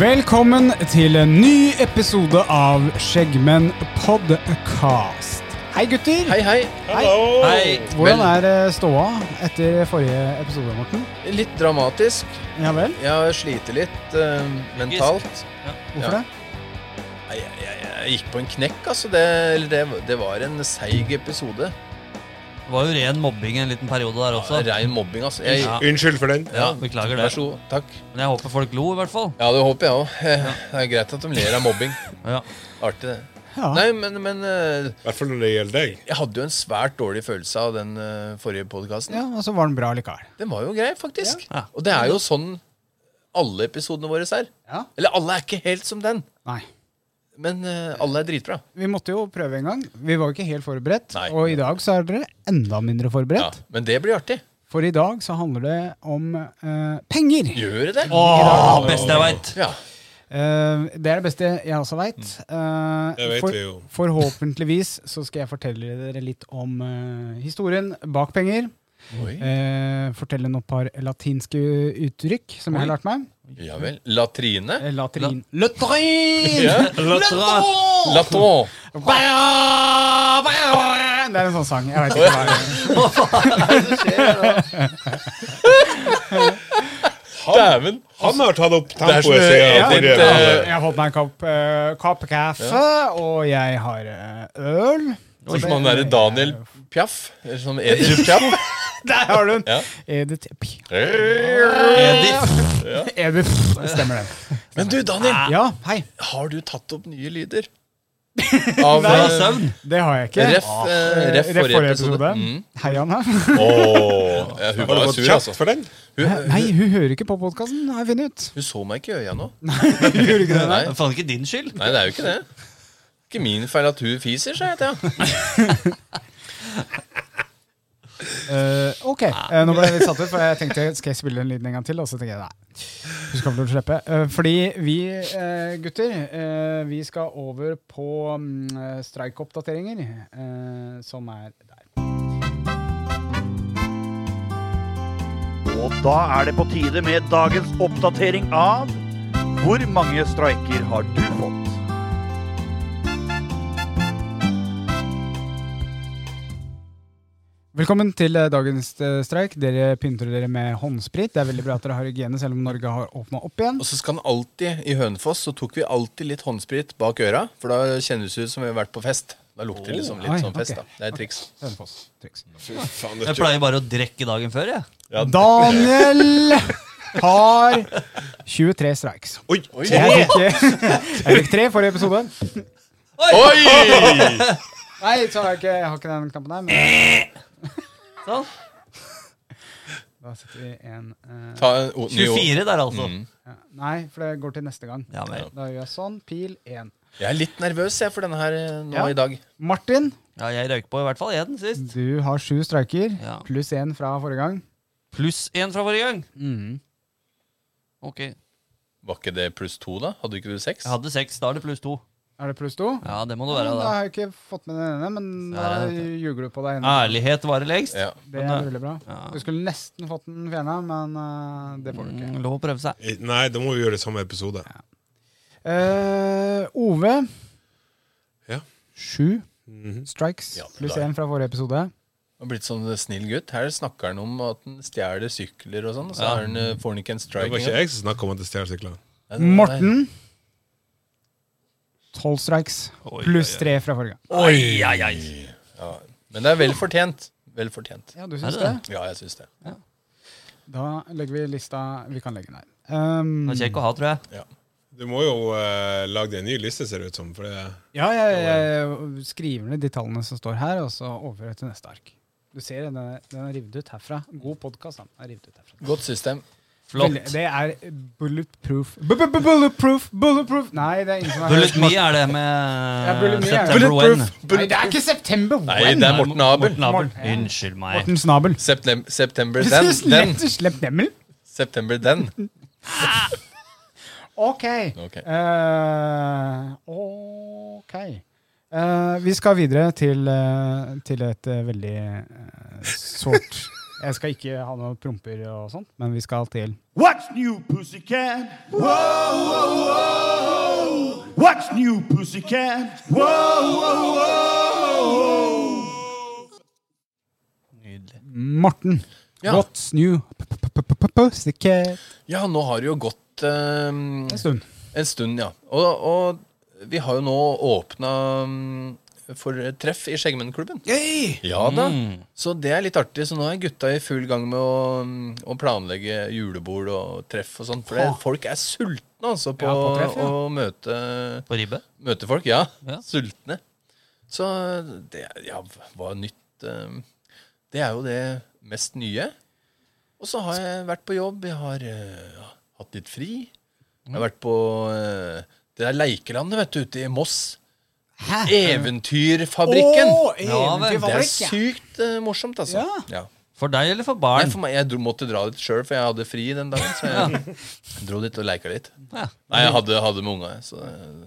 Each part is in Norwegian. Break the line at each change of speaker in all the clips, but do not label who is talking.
Velkommen til en ny episode av Skjeggmenn podcast. Hei, gutter.
Hei, hei. Hei.
Hvordan er eh, ståa etter forrige episode, Morten?
Vel, Litt dramatisk.
Ja vel?
Jeg sliter litt eh, mentalt.
Hvorfor
Ja.
det?
Nei, Jeg, jeg, jeg gikk på en knekk, altså. Det, eller det, det var en seig episode.
Det var jo ren mobbing en liten periode der også.
Ja, rein mobbing, altså. Jeg,
Ja.
Unnskyld for den.
Ja, beklager det.
Vær så god. Takk.
Men jeg håper folk lo, i hvert fall.
Ja, det håper jeg òg. Det er greit at de ler av mobbing.
Ja.
Artig, det.
Ja.
Nei, men, men eh,
I hvert fall når det gjelder deg.
jeg hadde jo en svært dårlig følelse av den eh, forrige podkasten.
Ja, og så var den bra likevel.
Den var jo grei, faktisk.
Ja. Ja.
Og det er jo sånn alle episodene våre er.
Ja.
Eller alle er ikke helt som den,
Nei.
men eh, alle er dritbra.
Vi måtte jo prøve en gang. Vi var jo ikke helt forberedt.
Nei.
Og i dag så er dere enda mindre
Ja,
forberedt.
men det blir artig.
For i dag så handler det om eh, penger.
Gjør det det?
Ah.
Åh, best jeg veit.
Ja.
Eh, det er det beste jeg også veit.
Det vet vi jo.
Forhåpentligvis så skal jeg fortelle dere litt om eh, historien bak penger.
Oi.
Eh, fortelle noen par latinske uttrykk som jeg har lært meg.
ja vel. Latrine?
Eh, Latrin.
Ja. Laton.
Det er en sånn sang. Jeg vet ikke hva det er.
Dæven!
Han har tatt opp
er som,
tempoet
eh,
siden
ja,
forrige
det-
episode.
Jeg har fått meg en kopp, eh, kopp kaffe, og jeg har eh, øl.
Sånn som han derre Daniel Piaf. Eller som Edith Piaf.
Der har du den!
Ja.
Edith P-
Edith.
Edith. Stemmer det.
Men du, Daniel.
Ja, hei.
Har du tatt opp nye lyder? Av
Fra
eh,
søvn.
Det har jeg ikke.
Ref, eh,
Eh,
ref forrige episode. Mm.
Hei, Anna.
Åh,
Ja, hun
Har du
var
fått
sur,
kjeft
altså.
for den?
Hun,
Nei, hun hører ikke på podkasten, har jeg funnet ut.
hun så meg ikke i øya nå.
Gjør du ikke det?
Nei,
Det er faen ikke din skyld.
nei, det er jo ikke det. Ikke min feil at hun fiser, sa jeg til henne.
Eh, ok, Eh, nå ble jeg litt satt ut, for jeg tenkte skal jeg spille den lyden en gang til? Og så tenkte jeg nei. Du skal få lov til å slippe. Eh, fordi vi eh, gutter, eh, vi skal over på mm, eh, streikoppdateringer, eh, som er der.
Og da er det på tide med dagens oppdatering av Hvor mange streiker har du fått?
Velkommen til eh, dagens eh, streik. Dere pynter dere med håndsprit. Det er veldig bra at dere har hygiene, selv om Norge har åpna opp igjen.
Og så skal han alltid, i Hønefoss, så tok vi alltid litt håndsprit bak øra. For da kjennes det ut som vi har vært på fest. Da lukter det liksom
Oi,
litt sånn fest,
ok.
da. Det er et triks.
Hønefoss. Triks.
Fy faen, det
Jeg pleier bare å drikke dagen før, jeg.
Daniel har 23 streiks.
Oi!
Jeg fikk, jeg fikk tre i forrige episode.
Oi!
Nei, så har jeg, ikke, jeg har ikke den knappen der. Men
Sånn.
da setter vi en eh,
Ta en o- ny o-
24 der, altså.
Mm.
ja. Nei, for det går til neste gang.
Ja, men.
Da gjør jeg sånn. Pil én.
Jeg er litt nervøs jeg, for denne her eh, nå
Ja.
i dag.
Martin,
ja, jeg røyk på i hvert fall én sist.
du har sju streiker.
Ja.
Pluss én fra forrige gang.
Pluss én fra forrige gang.
Mm.
Ok.
Var ikke det pluss to, da? Hadde ikke du seks?
Jeg hadde seks, da er det pluss to.
Er det pluss to?
Ja, det må det
Ja,
være,
men da
da.
har jeg ikke fått med den ene, men
Så
da
er det dette.
ljuger du på deg ene.
Ærlighet varer lengst.
Ja.
Det
men
er
det-
veldig bra.
Ja.
Du skulle nesten fått den fjerna, men eh, det får du ikke.
Mm, Lov å prøve seg.
Nei, da må vi gjøre det samme episode.
Eh, Ove.
Ja.
Sju
Mhm.
strikes
Ja, men
pluss
da-
én fra forrige episode.
Han har blitt sånn snill gutt. Her snakker han om at han stjeler sykler og sånn. og Så
Ja.
er han, eh, får han ikke en
Det
strike.
var ikke
engang.
jeg som snakka om at det stjeler sykler.
Nei, nei, nei.
Morten. Tolv strikes
Oi, oi,
pluss
oi.
tre fra forrige gang.
Oi, oi, oi.
Ja. Men det er vel fortjent. Vel fortjent.
Ja, du
syns
syns
det?
det?
Ja, jeg syns det.
Da legger vi lista Vi kan legge den her. Um,
Det er kjekk å ha, tror jeg.
Du må jo eh, lage deg en ny liste, ser det ut som. For det
ja, jeg, jeg skriver ned de tallene som står her, og så overfører jeg til neste ark. Du ser den er, den er revet ut herfra. God podkast, den er revet ut herfra.
Godt system.
Veldig-
Flott.
Det er bulletproof. Bu- bu- bu- Bulletproof! Bulletproof! Nei, det er ingen som har hørt
Bullet Me
Morten-
er det
Ja,
med
Bullet Me er det.
September When.
Nei, det er ikke September One!
Nei, det er Morten Abel.
Morten Abel.
Morten-
Unnskyld meg.
Morten Snabel.
Septem September den. den.
Rett og slett nemmel.
September den.
Ok.
Ok.
Eh, ok. Eh, vi skal videre til, eh, til et eh, veldig eh, sårt Jeg skal ikke ha noen promper og sånt, men vi skal til
What's new, pussycat? Whoa, whoa, whoa. What's new, pussycat? Whoa, whoa, whoa.
Nydelig.
Morten.
Ja.
What's new? P- p- p- p- p- Pussycat.
Ja, nå har det jo gått ehm,
En stund.
en stund, ja. Og, og vi har jo nå åpna mm, for treff i Skjeggmennklubben. Ja da. Så det er litt artig. Så nå er gutta i full gang med å, mm, å planlegge julebord og treff og sånn. For det, folk er sultne altså på,
Ja, på treff, ja.
å møte,
På ribbe.
møte folk. Ja.
Ja.
Sultne. Så det er- ja, hva er nytt ehm, Det er jo det mest nye. Og så har jeg vært på jobb. Jeg har eh, ja, hatt litt fri. Jeg har vært på eh, det der leikelandet, vet du, ute i Moss.
Hæ? Å,
Eventyrfabrikken.
Ja, vel.
Det er
eventyrfabrikk, ja.
sykt eh, morsomt, altså.
Ja.
Ja.
For deg eller for
Nei,
barn?
for meg, jeg dro, måtte dra dit sjøl, for jeg hadde fri den dagen. Så jeg dro dit og leika litt.
Ja.
Nei, jeg hadde, hadde med unga. jeg, Så eh,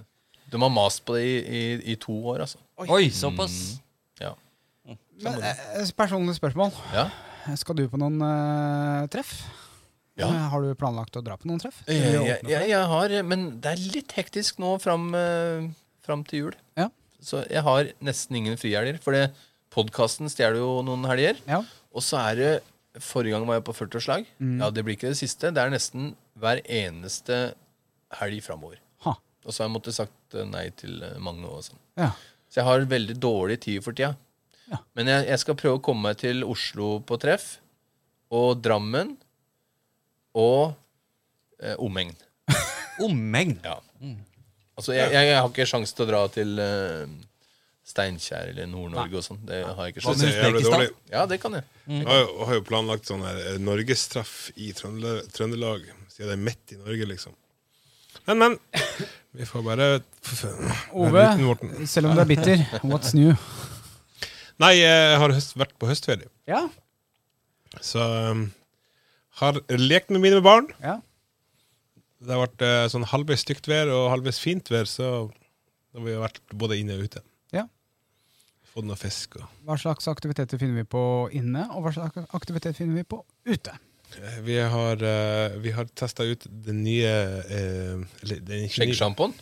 de har mast på det i, i, i to år, altså.
Oi, såpass.
Ja.
Men, eh, personlig spørsmål.
ja.
Skal du på noen eh, treff?
Ja.
Eh, Har du planlagt å dra på noen treff?
Eh,
Jeg,
Eller
jeg,
åpne for det?
jeg, jeg har Men det er litt hektisk nå fram, eh, fram til jul.
Ja.
Så jeg har nesten ingen frihelger. For det- podkasten stjeler jo noen helger.
Ja. Mm.
Og så er det Forrige gang var jeg på 40-årslag. Ja, det blir ikke det siste. Det er nesten hver eneste helg framover.
Ha.
Og så har jeg måttet sagt eh, nei til eh, mange og sånn.
Ja.
Så jeg har veldig dårlig tid for tida.
Ja.
Men jeg, jeg skal prøve å komme meg til Oslo på treff, og Drammen, og eh, omegn.
Omegn.
Ja. Altså, jeg, jeg, jeg har ikke sjanse til å dra til eh, Steinkjer eller Nord-Norge og sånn. Det har jeg ikke
Det
sjans
ser
til.
jævlig
Usbekistan?
dårlig ut.
Ja, det kan jeg.
Jeg har jo, har jo planlagt sånn her eh, norgestreff i Trøndelag, Trøndelag, siden det er midt i Norge, liksom. Men, men. Vi får bare
Ove,
Uten Morten.
selv om du er bitter, what's new?
Nei, eh, jeg har høst, vært på høstferie,
Ja.
så um, har lekt med mine barn.
ja.
Det har vært eh, sånn halvveis stygt vær og halvveis fint vær, så da har vi jo vært både inne og ute.
Ja.
Fått noe fisk og
Hva slags aktiviteter finner vi på inne, og hva slags aktivitet finner vi på ute?
Eh, Vi har, uh, vi har testa ut den nye eh, eller, den er ikke ny.
Skjeggsjampoen.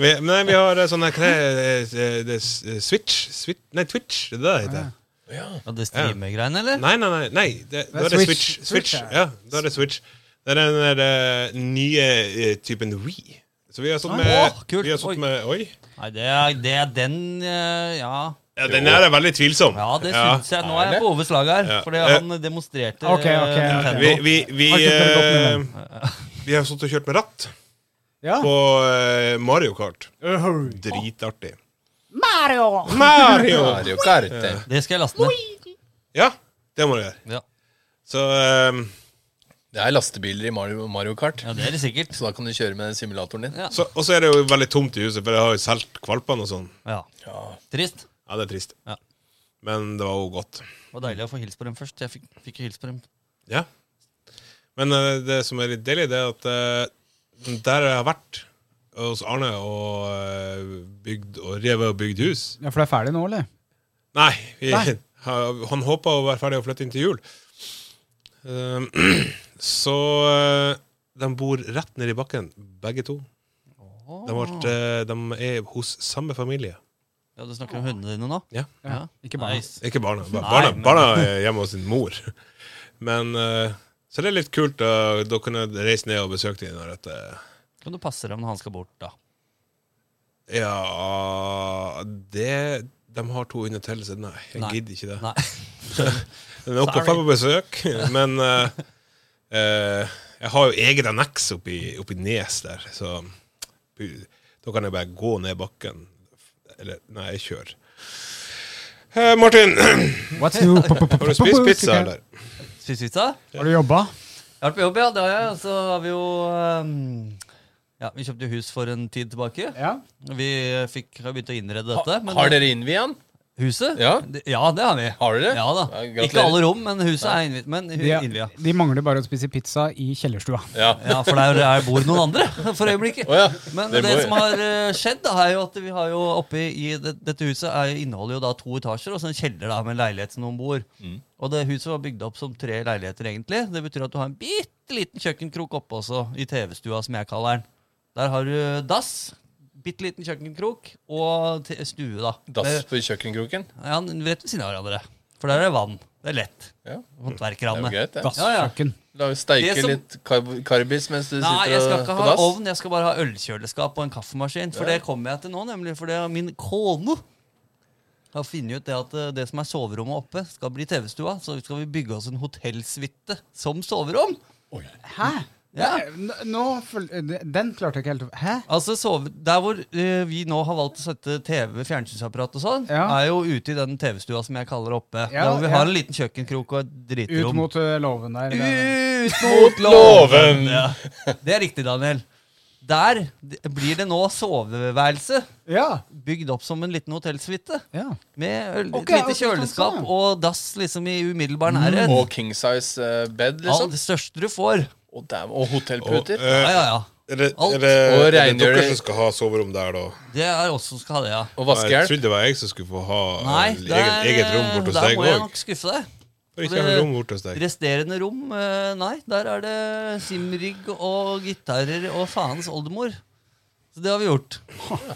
Vi, nei, vi har eh, sånne hva er det, eh, det er s- eh, Switch? Switch? Nei, Twitch. Det er det det heter.
Ja.
Ah, Ja, det streamegreiene, eller?
Nei, nei, nei. nei det, da er det
Switch.
Switch.
Switch,
Switch.
ja.
Ja, da er det Switch. Det er den der, eh, nye eh, typen Wii. Så vi har satt med
Åh, kult.
Vi har
Oi.
satt med, oi.
Nei, det er, det er den eh, Ja,
Ja, den her er veldig tvilsom.
ja det syns jeg. Nå er jeg på Oves lag her,
Ja.
fordi
Eh,
han demonstrerte
ok, ok, ok.
eh,
Vi,
Nintendo.
vi, vi,
Arthur kan gå opp med
eh, vi har stått og kjørt med ratt
Ja.
på eh, Mario Kart. Dritartig.
Mario!
Mario!
Mario Kart. det.
Det skal jeg laste ned.
Ja, det må du gjøre.
Ja,
Så eh,
Det er lastebiler i Mario, Mario Kart,
ja det er det sikkert.
så da kan du kjøre med den simulatoren din.
Ja.
så, Og så er det jo veldig tomt i huset, for jeg har jo solgt valpene og sånn.
Ja.
Ja.
Trist.
Ja, det er trist.
Ja.
Men det var jo godt.
Det var deilig å få hilst på dem først. Jeg fikk, fikk jo hilst på dem.
Ja. Men eh, det som er litt deilig, det er at eh, der jeg har vært hos Arne og eh, bygd og revet og bygd hus
Ja, for det er ferdig nå, eller?
Nei, vi,
Nei.
han han håpa å være ferdig og flytte inn til jul. Ehm, Så eh, de bor rett nedi bakken, begge to. De, vart, eh, de er hos samme familie.
Ja, Du snakker om hundene dine nå?
Ja.
Ja.
Ikke barna.
Nice.
Ikke barna. Ba-
Nei,
Barna,
men-
barna er hjemme hos sin mor. Men eh, Så det er litt kult. Da, da kan jeg reise ned og besøke dem når dette
Kan du passe dem når han skal bort, da?
Ja det, De har to under til, så nei, jeg
Nei.
gidder ikke det.
Nei.
Den er oppe på
Sorry.
fem på besøk, men eh, eh, jeg har jo egen anneks oppi, oppi Nes der, så bu- da kan jeg bare gå ned bakken. Eller, nei, jeg kjører. Eh, Martin, har
What's new? Har
du spist pizza, eller?
Spiser pizza?
Har du jobba?
Jeg har vært på jobb, ja. Det har jeg. Og Så har vi jo ehm, Ja, vi kjøpte hus for en tid tilbake.
Ja.
Vi fikk, har begynt å innrede
Ha,
dette. men-
har dere innviet den?
Huset?
Ja.
Det- ja, det har vi.
Har dere?
Ja da.
Ja, gratulerer.
Ikke alle rom, men huset er innviet. Men hu-
De,
innvia.
de mangler bare å spise pizza i kjellerstua.
Ja.
Ja, for der er- bor noen andre for øyeblikket.
Å ja.
Men det,
det må-
som har eh, skjedd, da, er jo at vi har jo oppe i det, dette huset er, inneholder jo da to etasjer og så en kjeller da med en leilighet som noen bor.
Mm.
Og det huset var bygd opp som tre leiligheter, egentlig. Det betyr at du har en bitte liten kjøkkenkrok oppe også, i TV-stua, som jeg kaller den. Der har du dass, bitte liten kjøkkenkrok og te- stue, da.
Dass
Med-
på kjøkkenkroken?
Ja, rett ved siden av hverandre. For der er det vann. Det er lett.
Ja. Det er jo
Håndverkerne.
greit, det.
Ja, ja.
Dasskjøkken.
La oss steike
Det som-
litt kar karbis mens du
Nei, jeg
sitter
skal
og- på
ikke ha
dass.
ovn, jeg skal bare ha ølkjøleskap og en kaffemaskin. For det kommer jeg til nå, nemlig. For det er min kone har funnet ut det at eh, det som er soverommet oppe, skal bli TV-stua. Så skal vi bygge oss en hotellsuite som soverom.
Hæ?
Ja.
Eh, N- Nå føl- Den klarte jeg ikke helt å- Hæ?
Altså, sove, Der hvor eh, vi nå har valgt å sette TV, fjernsynsapparat og sånn,
Ja.
er jo ute i den TV-stua som jeg kaller oppe.
Ja,
der hvor vi
ja.
har en liten kjøkkenkrok og et
Ut
dritrom.
mot ø, låven der. eh, der.
Ut mot loven! Ja. Det er riktig, Daniel. Der blir det nå soveværelse.
Ja.
bygd opp som en liten hotellsuite.
ja.
Med øl,
Ok,
et
ok,
lite kjøleskap
sånn, sånn.
og dass liksom i umiddelbar
Mm,
nærhet.
Og king size eh, bed,
Alt
sånn.
liksom.
det største du får.
Og, dæven, og
Og,
hotellputer.
Ja,
eh,
ja, ja.
er det,
Alt.
er det,
Og
er det
reingjør-
dere som skal ha soverom der, da?
Det er oss som skal ha det, ja.
Og
Jeg
vaskehjelp.
trodde det var jeg som skulle få ha eh,
Nei,
eget,
der,
eget rom borte hos
der
deg
må jeg
òg.
nok skuffe deg.
Ikke ha
det-
rom borte hos deg.
Resterende rom, eh, nei. Der er det simrigg og gitarer og faens oldemor. Så det har vi gjort.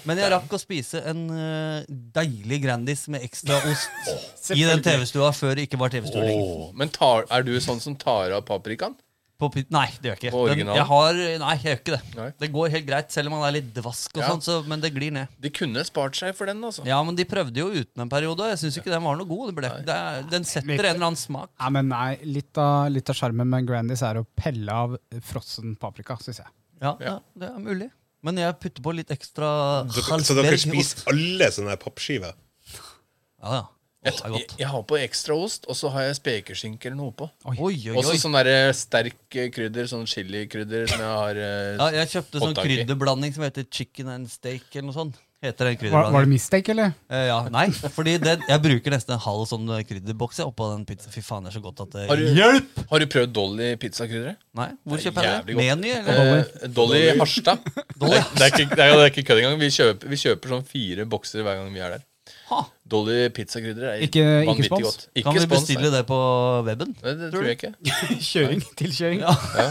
Men jeg rakk å spise en eh, deilig Grandis med ekstra ost i den TV-stua før det ikke var TV-stue lenger.
Åh, Men tar, er du sånn som tar av paprikaen?
På pit nei, det gjør jeg ikke.
På
Den,
originalen?
jeg har, nei, jeg gjør ikke det.
Nei.
Det går helt greit, selv om han er litt dvask, og
Ja.
sånn, så, men det glir ned.
De kunne spart seg for den, altså.
Ja, men De prøvde jo uten en periode, og jeg syns ikke den var noe god. Det ble, det er, den setter en eller annen smak.
Nei, men nei, litt av, litt av sjarmen med Grandis er å pelle av frossen paprika, syns jeg.
Ja, ja. det er mulig. Men jeg putter på litt ekstra
Dere- Så dere spiser alle sånne her pappskiver?
Ja, ja. Å, det er
Jeg,
godt.
jeg har på ekstra ost, og så har jeg spekeskinke eller noe på.
Oi, oi,
Og så
oi.
sånn der sterk eh, krydder, sånn chilikrydder som jeg har eh,
Ja, jeg kjøpte sånn
håndtak i.
krydderblanding som heter chicken and steak, eller noe sånt. Heter den
Var, var
krydderblandingen.
det mistake, eller?
Eh, ja, nei, fordi det, jeg bruker nesten en halv sånn krydderboks jeg, oppå den pizzaen. Fy faen, det er så godt at det
Har du, Hjelp! Har du prøvd Dolly pizzakrydderet?
Nei, hvor
Det er
kjøper jeg det?
jævlig godt.
Meny, eller?
Eh, Dolly Harstad. Det,
Dolly.
er- det, er ikke, det, er, det er ikke kødd engang. Vi kjøper, vi kjøper sånn fire bokser hver gang vi er der.
Ha.
Dolly pizzakrydder er
Ikke- ikke
vanvittig
spons?
godt. Ikke
Kan vi
spons,
bestille
nei.
det på weben?
Nei, det tror jeg ikke.
Kjøring. Tilkjøring.
Ja.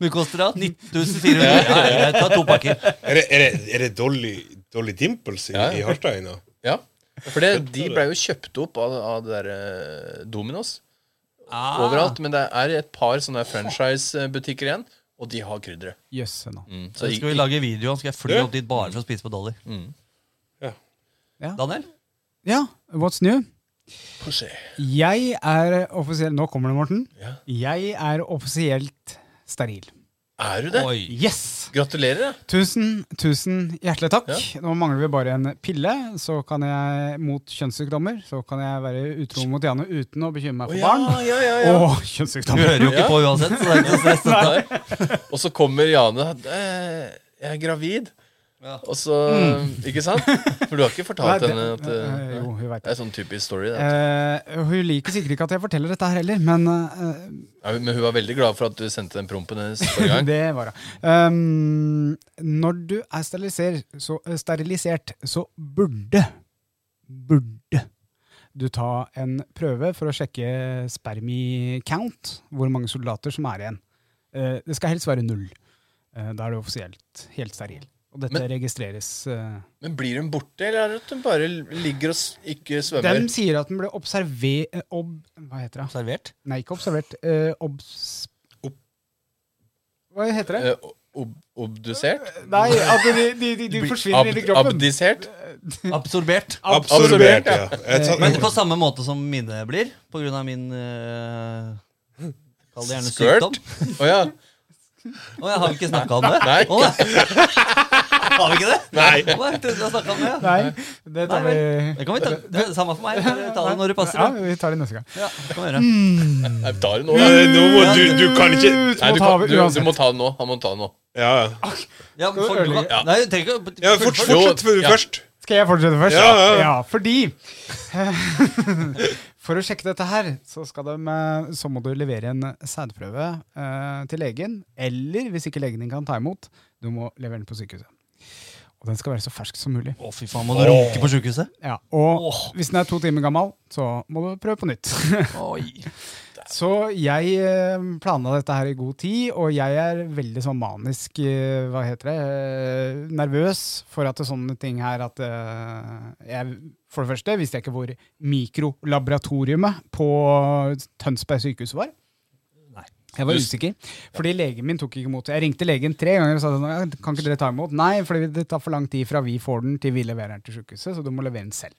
Mye koster det? 9400? Ja, greit, ta to pakker.
Er det, er det, er det Dolly, Dolly Dimples i,
Ja, ja.
i Harstad ennå?
Ja, for det, de ble jo kjøpt opp av, av det der eh, Dominos
Ah.
overalt. Men det er et par sånne franchise-butikker igjen, og de har krydderet.
Jøsse nå.
Så Mm.
skal vi
ikke-
lage video, skal jeg fly opp dit bare for å spise på Dolly.
Ja.
Ja.
Daniel?
Ja, what's new?
Porsche.
Jeg er offisielt Nå kommer det, Morten.
Ja.
Jeg er offisielt steril.
Er du det?
Oi.
Yes!
Gratulerer. da.
Tusen, tusen hjertelig takk. Nå mangler vi bare en pille så kan jeg, mot kjønnssykdommer. Så kan jeg være utro mot Janne uten å bekymre meg
Å,
for
ja,
barn.
ja, ja, ja.
Og
Du
kjønnssykdommer.
hører jo ikke
Ja.
på uansett, så det er ikke så stress.
Nei. Og så kommer Jane eh, Jeg er gravid.
Ja.
Og så Ikke sant? For du har ikke
Nei,
fortalt
det-
henne at
eh,
eh,
Jo, hun vet det.
Det er sånn typisk story. Det.
Eh, hun liker sikkert ikke at jeg forteller dette her heller, men eh,
Ja, Men hun var veldig glad for at du sendte den prompen hennes forrige gang.
Det var det. Ehm, når du er sterilisert så, eh, sterilisert, så burde Burde du ta en prøve for å sjekke spermi-count, hvor mange soldater som er igjen. Eh, det skal helst være null. Eh, da er du offisielt helt steril. Og dette
Men-
registreres eh,
Men blir hun borte, eller er det at hun bare ligger og s- ikke svømmer?
De sier at den ble observer... eh, Ob, hva heter det?
Servert?
Nei, ikke observert. eh, obs...
Ob-
Hva heter det?
Eh, Ob obdusert?
Nei, at de, de, de, de forsvinner inn i
Ab
kroppen.
abdisert?
Absorbert.
Absorbert, ja. Jeg sa-
Men på samme måte som mine blir, på grunn av min eh, Kall det gjerne
Skørt?
sykdom.
Å ja.
Å, jeg har vi ikke snakka om det?
Nei.
Å, nei. har vi ikke det?
Nei.
Å, jeg trodde vi hadde snakket om det. ja.
Nei, det tar vi
Nei, Det kan vi ta. Det er samme for meg. Bare ta det når det
Ja,
passer. da.
vi tar det neste gang.
Ja, det kan vi gjøre.
Jeg tar det nå.
Nei, nå må du, du kan ikke
Ut
Nei,
må ta
du, kan,
over
du, du
uansett.
må ta det nå. Han må ta det nå.
Ja, ja.
Ja,
Skal
men
vi
folk-
ødelegge?
ja. Nei, du trenger ikke
ja fort,
fullfør-
fortsett
Jo, ja.
først.
Skal jeg fortsette først?
Ja, ja, ja.
fordi For å sjekke dette her, så, skal de, eh, så må du levere en sædprøve eh, til legen. Eller, hvis ikke legen din kan ta imot, du må levere den på sykehuset. Og den skal være så fersk som mulig.
Å, fy faen, må du runke på sjukehuset?
Ja, og hvis den er to timer gammel, så må du prøve på nytt.
Oi.
Så jeg eh, planla dette her i god tid, og jeg er veldig sånn manisk eh, Hva heter det? eh, Nervøs for at det er sånne ting her at eh, jeg, For det første visste jeg ikke hvor mikrolaboratoriumet på Tønsberg sykehus var. Jeg var usikker, fordi legen min tok ikke imot. Jeg ringte legen tre ganger og sa sånn, «Ja, kan ikke dere ta imot. Nei, fordi det tar for lang tid fra vi får den til vi leverer den til sykehuset, så du må levere den selv.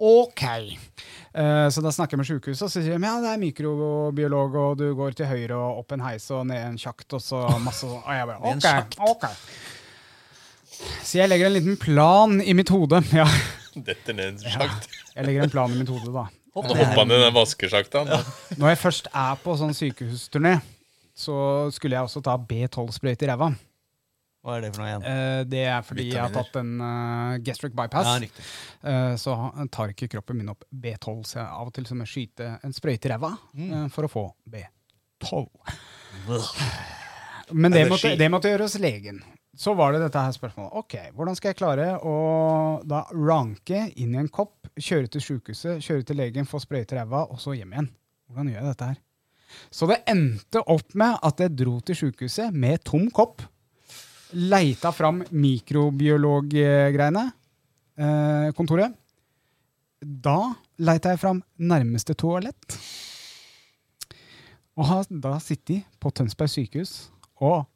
Ok. Eh, så da snakker jeg med sykehuset, og så sier de ja, det er mikrobiolog, og du går til høyre og opp en heis og ned en sjakt, og så masse sånn. Og jeg
Ned en
bare
sjakt.
ok, ok. Så jeg legger en liten plan i mitt hode. Ja,
Detter ned en sjakt.
jeg legger en plan i mitt hode, da.
Hopp
Han
ned.
hoppa ned den vaskesjakta. han.
Når jeg først er på sånn sykehusturné, så skulle jeg også ta B12-sprøyte i ræva.
Hva er det for noe igjen?
Eh, Det er fordi jeg har tatt en eh, gastric bypass.
Ja, riktig.
Eh, så han- tar ikke kroppen min opp B12, så jeg av og til så må jeg skyte en sprøyte i ræva
Mm.
eh, for å få B12. Men det måtte, det måtte gjøre hos legen. Så var det dette her spørsmålet. Ok, Hvordan skal jeg klare å da ranke inn i en kopp, kjøre til sjukehuset, kjøre til legen, få sprøyte i ræva, og så hjem igjen? Hvordan gjør jeg dette her? Så det endte opp med at jeg dro til sjukehuset med tom kopp. Leita fram mikrobiologgreiene. Eh, kontoret. Da leita jeg fram nærmeste toalett. Og har da sittet på Tønsberg sykehus og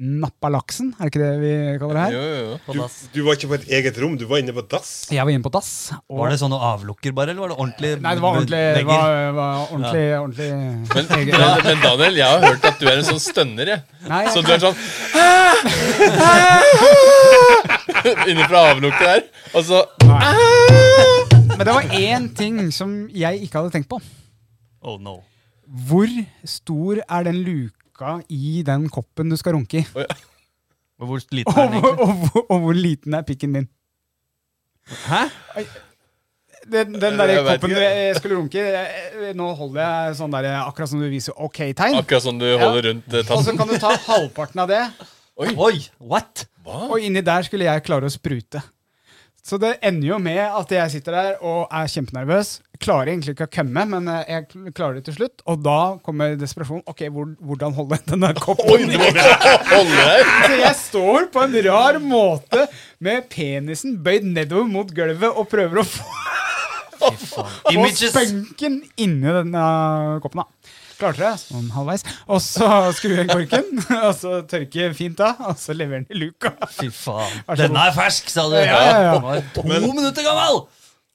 nappa laksen, er det ikke det vi kaller det her?
Jo, jo, jo.
På
Du,
dass.
du var ikke på et eget rom, du var inne på dass.
Jeg var inne på dass. Og
Var det sånn å avlukker bare, eller var det ordentlig
Nei, det var ordentlig, det
legger?
var, eh, var ordentlig, ordentlig
Men, men Daniel, jeg har hørt at du er en sånn stønner. Jeg.
Nei,
Så du er sånn ah, Inni ah." fra avlukket der. Og så
Men det var én ting som jeg ikke hadde tenkt på.
Oh no.
Hvor stor er den luka i den koppen du skal runke i?
Men Hvor liten
Og,
er den
hvor-
egentlig?
og, hvor- og hvor liten er pikken min?
Hæ?
Den, den der
Jeg vet
koppen
ikke.
jeg skulle runke i, eh, Nå holder jeg sånn der, eh, akkurat som du viser OK-tegn.
Akkurat som du holder rundt eh,
Og så
tassen.
kan du ta halvparten av det,
Oi, what?
Hva?
og inni der skulle jeg klare å sprute. Så det ender jo med at jeg sitter der og er kjempenervøs. Klarer egentlig ikke å komme, men eh, jeg klarer det til slutt. Og da kommer desperasjonen. Ok, hvor, hvordan holder jeg denne koppen?
Oi, du må ikke holde deg.
Så jeg står på en rar måte med penisen bøyd nedover mot gulvet og prøver å få Få
Images.
spenken inni denne koppen, da. Klarte det, sånn halvveis. Og så skru igjen korken, og så tørke fint av, og så levere den i luka.
Fy faen.
Vær så god.
Denne er fersk, sa du.
Ja, ja, ja.
Den var to minutter gammel!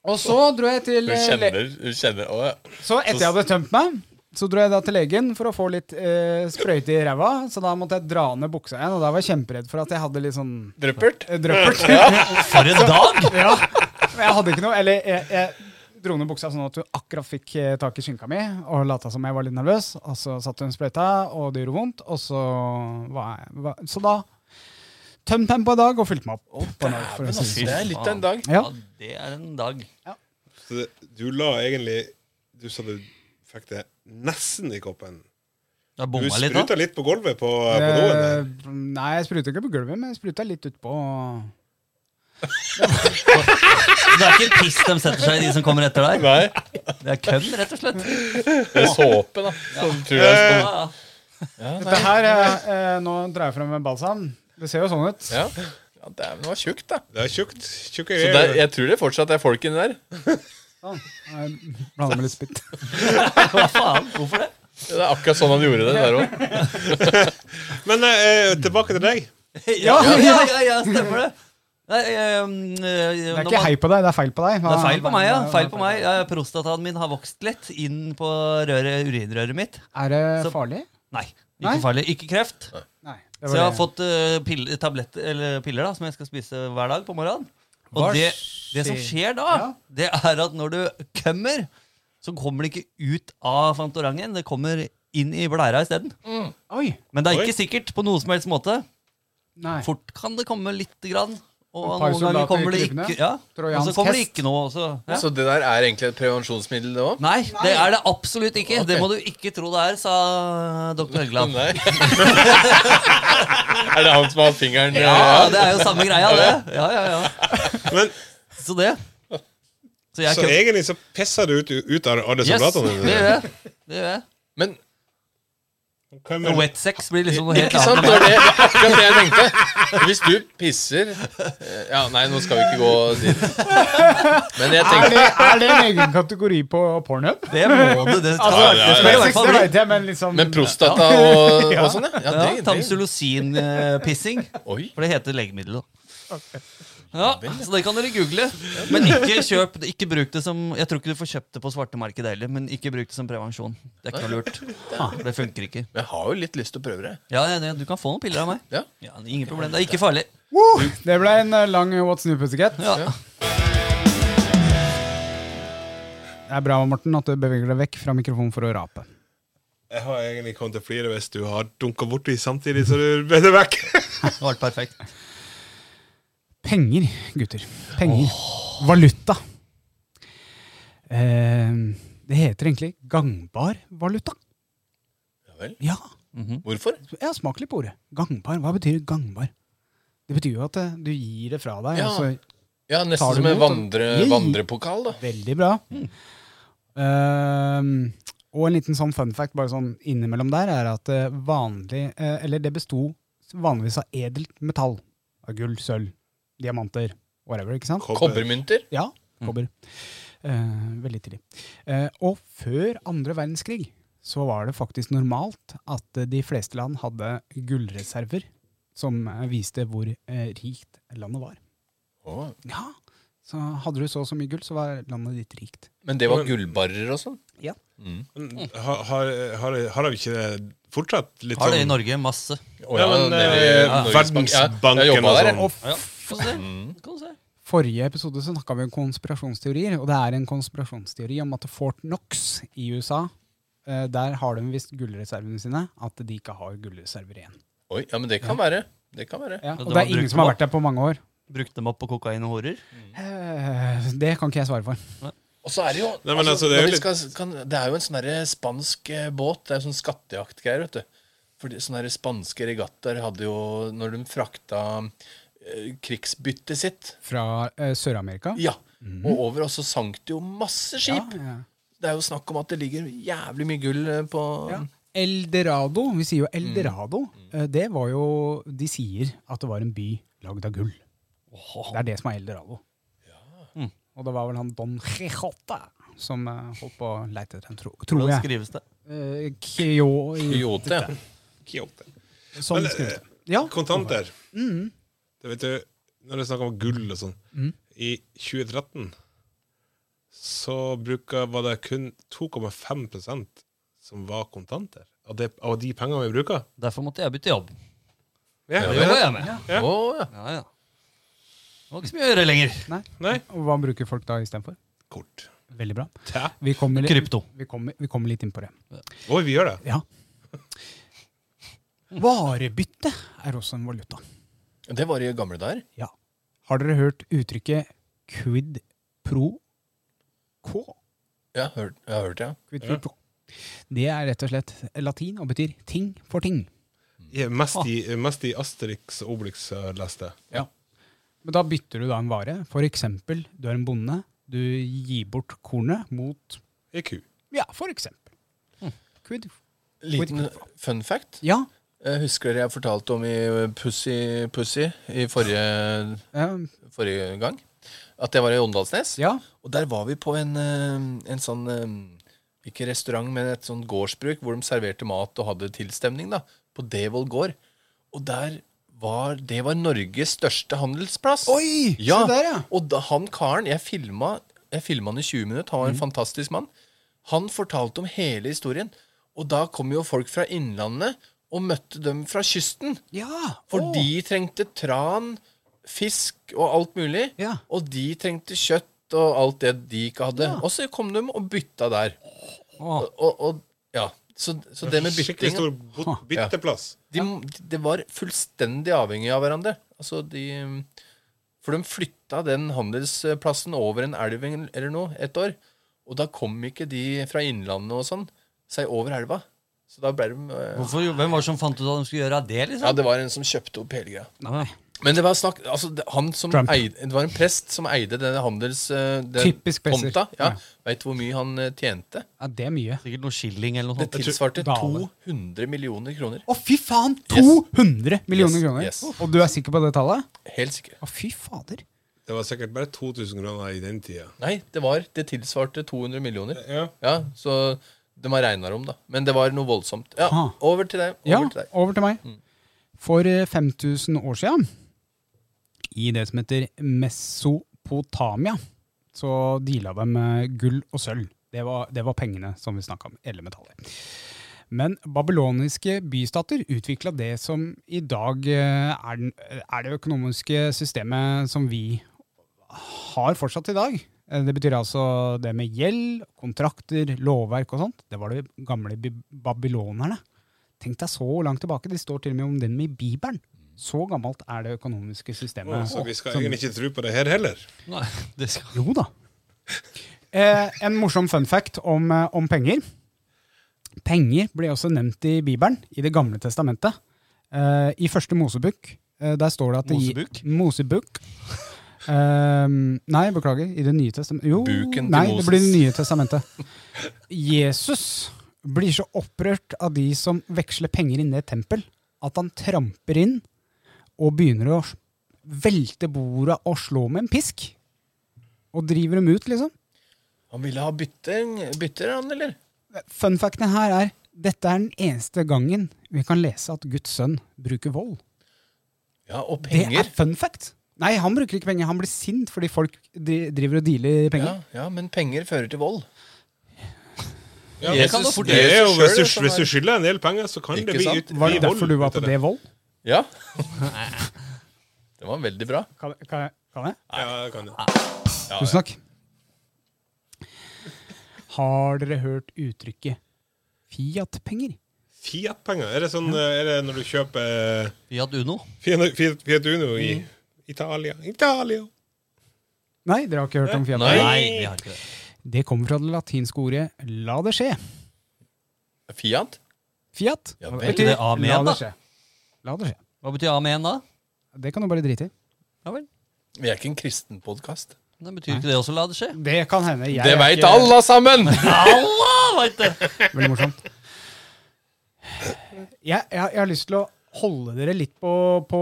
Og så dro jeg til eh,
Du kjenner, du kjenner å, ja.
Så etter jeg hadde tømt meg, så dro jeg da til legen for å få litt eh, sprøyte i ræva. Så da måtte jeg dra ned buksa igjen, og da var jeg kjemperedd for at jeg hadde litt sånn
Druppert?
eh, drøppert.
For en dag!
Ja, men jeg hadde ikke noe Eller jeg, jeg dro ned buksa sånn at hun akkurat fikk eh, tak i skinka mi og lata som jeg var litt nervøs. Og så satte hun sprøyta, og det gjorde vondt. Og så var jeg var, Så da tømte jeg den på en dag og fylte meg opp. på en dag, for å si det sånn.
Det er litt av en dag.
Ja.
Ja, det er en dag.
Så det- Du la egentlig Du sa du fikk det nesten i koppen.
Du har
Du
bomma litt, da.
spruta litt på gulvet på, på doen.
Eh,
der.
Nei, jeg spruta ikke på gulvet, men jeg spruta litt utpå.
Så Det er ikke en piss de setter seg i, de som kommer etter deg.
Nei.
Det er kødd, rett og slett.
Det er såpe, da. Som tror jeg sånn-
Ja,
skal
ja.
Dette her, eh, eh, Nå drar jeg frem en balsam. Det ser jo sånn ut.
Ja, Eh. ja det er- det var tjukt, da.
Det er tjukt. Tjukke
Så
greier.
der, jeg tror det fortsatt er folk inni der.
Sånn. Jeg Eh, Blander med litt spytt.
Hva faen? Hvorfor det?
Det er akkurat sånn han gjorde det der òg.
Men eh, tilbake til deg.
Ja, ja, ja, ja stemmer det. Nei, eh, um, eh,
Det er
når
ikke
man-
hei på deg, det er feil på deg.
det er feil på meg, ja. Feil på meg. Ja, prostataen min har vokst lett inn på røret, urinrøret mitt.
Er det
Så-
farlig?
Nei,
Nei?
ikke farlig. Ikke kreft.
Nei. det var
Så jeg har
det.
fått eh, pill, tablett, eller piller da, som jeg skal spise hver dag på morgenen. Og
Hva
det, det som skjer da,
Ja.
det er at når du kømmer, så kommer det ikke ut av fantorangen. Det kommer inn i blæra isteden.
Oi!
Men det er
Oi.
ikke sikkert på noen som helst måte.
Nei.
Fort kan det komme lite grann. Og
Et par
noen ganger
soldater
kommer det
krypende.
ikke ja. Og
Trojansk
så kommer det
hest.
ikke noe også. Ja.
Så det der er egentlig et prevensjonsmiddel, det òg?
Nei, det er det absolutt ikke. Det
Ok.
må du ikke tro det er, sa doktor Helgeland.
Nei. er det han som har fingeren
Ja, det er jo samme greia, det. Ja, ja, ja.
Men
Så det. Så jeg
så
kødder.
egentlig så pisser du ut, ut av alle
Yes,
soldatene
det
dine.
gjør jeg. Det gjør jeg.
Men
Hva
Og
med-
Wet sex blir liksom noe helt
ikke sant,
annet.
det var det, det var akkurat det jeg tenkte. Hvis du pisser eh, Ja, nei, nå skal vi ikke gå dit. Men jeg
Er
tenkte
det, er det en egen kategori på pornhub?
Det må du. Det skal
Altså,
det skal i hvert fall
Det
bli.
vet jeg, men liksom
Men prostata og, og sånn, ja. ja,
Ja,
det, det.
Tamsulosin-pissing.
Oi.
For det heter legemiddel. da. Ja, så det kan dere google. Men ikke kjøp det. Ikke bruk det som Jeg tror ikke du får kjøpt det på svartemarkedet heller, men ikke bruk det som prevensjon. Det er ikke noe lurt. Ah, Det funker ikke.
Men jeg har jo litt lyst til å prøve det.
Ja, ja, ja, Du kan få noen piller av meg.
Ja.
Ja, Ingen problem. Det er ikke farlig.
Woo! Det ble en eh, lang What's New Pussycat.
Ja.
Det er bra, Morten, at du beveger deg vekk fra mikrofonen for å rape.
Jeg har egentlig kommet til å flire hvis du har dunka borti samtidig så du ble det vekk.
Det var helt perfekt.
Penger, gutter. Penger. Valuta. Eh, det heter egentlig gangbar valuta.
Ja vel.
Ja, Mm.
Hvorfor?
jeg har smakt litt på ordet. Gangbar. Hva betyr gangbar? Det betyr jo at eh, du gir det fra deg.
Ja.
Altså,
Ja,
Tar
Nesten
du
som en
imot,
vandre,
da? Yay.
vandrepokal, da.
Veldig bra. Ehm, og en liten sånn fun fact bare sånn innimellom der, er at eh, vanlig eh, Eller det besto vanligvis av edelt metall. Av gull, sølv, diamanter, whatever. ikke sant?
Kobbermynter.
Ja, kobber. Eh, veldig tidlig. Eh, og før andre verdenskrig så var det faktisk normalt at eh, de fleste land hadde gullreserver som eh, viste hvor eh, rikt landet var.
Å,
Ja, så Hadde du så og så mye gull, så var landet ditt rikt.
Men det var gullbarrer og sånn?
Men Har, har, har, har vi ikke det fortsatt? Litt
Har det i
sånn-
Norge masse.
Å,
Ja, men,
nede i
eh,
Norges Bank. Ja,
Verdensbanken
jeg jobbet
og
der, jeg.
Mm.
sånn.
Ja, kan du se. Kan du se.
forrige episode så snakka vi om konspirasjonsteorier, og det er en konspirasjonsteori om at Fort Knox i USA eh, der har de visst gullreservene sine, at de ikke har gullreserver igjen.
Oi, ja, men det kan være. Det kan være.
Ja,
Så
og det
de har
er ingen
brukt
som har
dem
vært der på mange år.
Brukt dem opp på kokain og horer?
Eh, det kan ikke jeg svare for.
Og så er det jo
Nei, men altså,
altså,
det er jo
når vi skal, kan, det er jo en sånn derre spansk eh, båt. Det er jo sånn skattejaktgreier, vet du. Fordi sånne derre spanske regattaer hadde jo Når de frakta eh, krigsbyttet sitt
Fra eh, Sør-Amerika.
Ja. Og over oss så sank det jo masse skip.
Mhm. ja.
Det er jo snakk om at det ligger jævlig mye gull eh, på
Ja. Eldorado, vi sier jo Eldorado, eh, det var jo De sier at det var en by lagd av gull. Det er det som er Eldorado. Mm. Og det var vel han Don Quijote som eh, holdt på å leite etter den, tro, tror
Hvordan
jeg.
skrives det?
Eh, Kyo
Kyoto.
Kyoto.
Sånn
Men,
skrives det.
eh,
Ja.
Kontanter. Det vet du, når det er snakk om gull og sånn I 2013 så bruker, var det kun 2,5 som var kontanter. Av, det, av de pengene vi bruker.
Derfor måtte jeg bytte jobb.
Ja,
Det
ja.
jobba jeg med.
Ja.
Å, ja.
Ja, ja. Det var ikke så mye å gjøre lenger.
Nei.
Og hva bruker folk da istedenfor?
Kort.
Veldig bra.
Tæ.
Vi kommer, litt-
Krypto.
Vi kommer, vi kommer litt inn på det.
Oi, vi gjør det.
Ja. Varebytte er også en valuta.
Det var i gamle dager.
Ja. Har dere hørt uttrykket quid pro quo?
Ja, hør, jeg har hørt det. Ja.
Quid pro quo. Det er rett og slett latin og betyr ting for ting.
Jeg- Mest i, mest i Asterix og Obelix har jeg lest det.
Men da bytter du da en vare. For eksempel, du er en bonde. Du gir bort kornet mot
Ei ku.
Ja, for eksempel.
Hm.
Quid.
Liten fun fact.
Ja.
Eh, Husker dere jeg fortalte om i eh, Pussy Pussy i forrige,
eh,
forrige gang? At jeg var i Åndalsnes.
ja.
Og der var vi på en, eh, en sånn eh, ikke restaurant, men et sånt gårdsbruk hvor de serverte mat og hadde tilstemning da, på Devold gård. Og der var, det var Norges største handelsplass.
Oi, se
Ja,
der, ja.
Og da, han karen, jeg filma, jeg filma han i 20 minutter, han var en
Mhm.
fantastisk mann. Han fortalte om hele historien. Og da kom jo folk fra innlandet og møtte dem fra kysten.
Ja,
For de trengte tran, fisk og alt mulig.
Ja.
Og de trengte kjøtt og alt det de ikke hadde.
Ja.
Og så kom de og bytta der.
Åh.
Og, og, og ja, så, så det med
Skikkelig
byttingen
stor bo- bytteplass.
de, Det var fullstendig avhengig av hverandre. Altså de For de flytta den handelsplassen over en elv eller noe et år. Og da kom ikke de fra innlandet og sånn seg over elva. Så da ble de eh,
Hvorfor, hvem var det som fant ut at de skulle gjøre det?
Ja,
liksom?
det var en som kjøpte opp hele greia.
Nei.
Men det var snakk altså, det, han som
Trump.
eide, det var en prest som eide denne handels... eh, den
Typisk presser.
tomta. Ja.
Ja.
Veit du hvor mye han eh, tjente?
Ja, det er mye.
Sikkert noe shilling eller noe
Det
sånt.
tilsvarte
Dale.
200 millioner kroner.
Å, fy faen! 200 millioner
Yes,
kroner.
yes.
Og du er sikker på det tallet?
Helt sikkert.
Å, fy fader.
Det var sikkert bare 2000 kroner i den tida.
Nei, det var det tilsvarte 200 millioner.
Ja.
Ja, Så de har regna om, da. Men det var noe voldsomt. Ja,
Ah.
Over til deg. Over
Ja,
til deg. Mm.
over til meg. For eh, 5000 år siden, i det som heter Mesopotamia, så deala de med gull og sølv. Det var, det var pengene som vi snakka om, eller metaller. Men babyloniske bystater utvikla det som i dag eh, er, den, er det økonomiske systemet som vi har fortsatt i dag. Eh, Det betyr altså det med gjeld, kontrakter, lovverk og sånt. Det var de gamle bi- babylonerne. Tenk deg så langt tilbake. De står til og med om den i Bibelen. Så gammelt er det økonomiske systemet.
Så vi skal
som-
egentlig ikke tro på det her heller.
Nei, det skal...
Jo da. Eh, en morsom fun fact om, eh, om penger. Penger ble også nevnt i Bibelen, i Det gamle testamentet. Eh, I første Mosebukk. Eh, der står det at det gi-
Mosebukk?
Mosebukk. Eh, nei, beklager. I Det nye testamentet Jo,
Buken til
nei, det
Moses.
blir Det nye testamentet. Jesus blir så opprørt av de som veksler penger inn i et tempel, at han tramper inn og begynner å velte bordet og slå med en pisk. Og driver dem ut, liksom.
Han ville ha bytter, bytter han, eller?
Fun facten her er dette er den eneste gangen vi kan lese at Guds sønn bruker vold.
Ja, og
Det
penger.
er fun fact. Nei, han bruker ikke penger. Han blir sint fordi folk dri- driver og dealer
Ja,
penger.
ja, men penger fører til vold.
Ja,
Det kan du fort
det er jo,
gjøre
hvis,
selv, altså,
du,
som
hvis du
er-
skylder en del penger, så kan
Ikke
det bli
sant?
ut
Var det
bli vold
derfor du var
ut av
på det vold?
Ja. det var veldig bra.
Kan, kan, kan jeg?
Ja, det kan det.
Ja,
Tusen takk. Har dere hørt uttrykket Fiat-penger?
Fiat-penger. Er det sånn eh, Er det når du kjøper eh,
Fiat Uno.
Fiat, Fiat, Fiat Uno i Italia Italia!
Nei, dere har ikke hørt om
Nei,
Fiat-penger?
vi har ikke det.
Det kommer fra det latinske ordet 'la det skje'.
Fiat?
Fiat
Ja,
Hva
vel,
betyr
det er amen,
la det
da.
skje. La det skje.
Hva betyr amen, da?
Det kan du bare drite i.
Ja vel.
Vi er ikke en kristen podkast.
Det betyr ikke det også, la det skje.
Det kan hende. Jeg
Det
er
veit
ikke-
alle sammen!
Allah veit det!
Veldig morsomt. Jeg, jeg, jeg har lyst til å holde dere litt på, på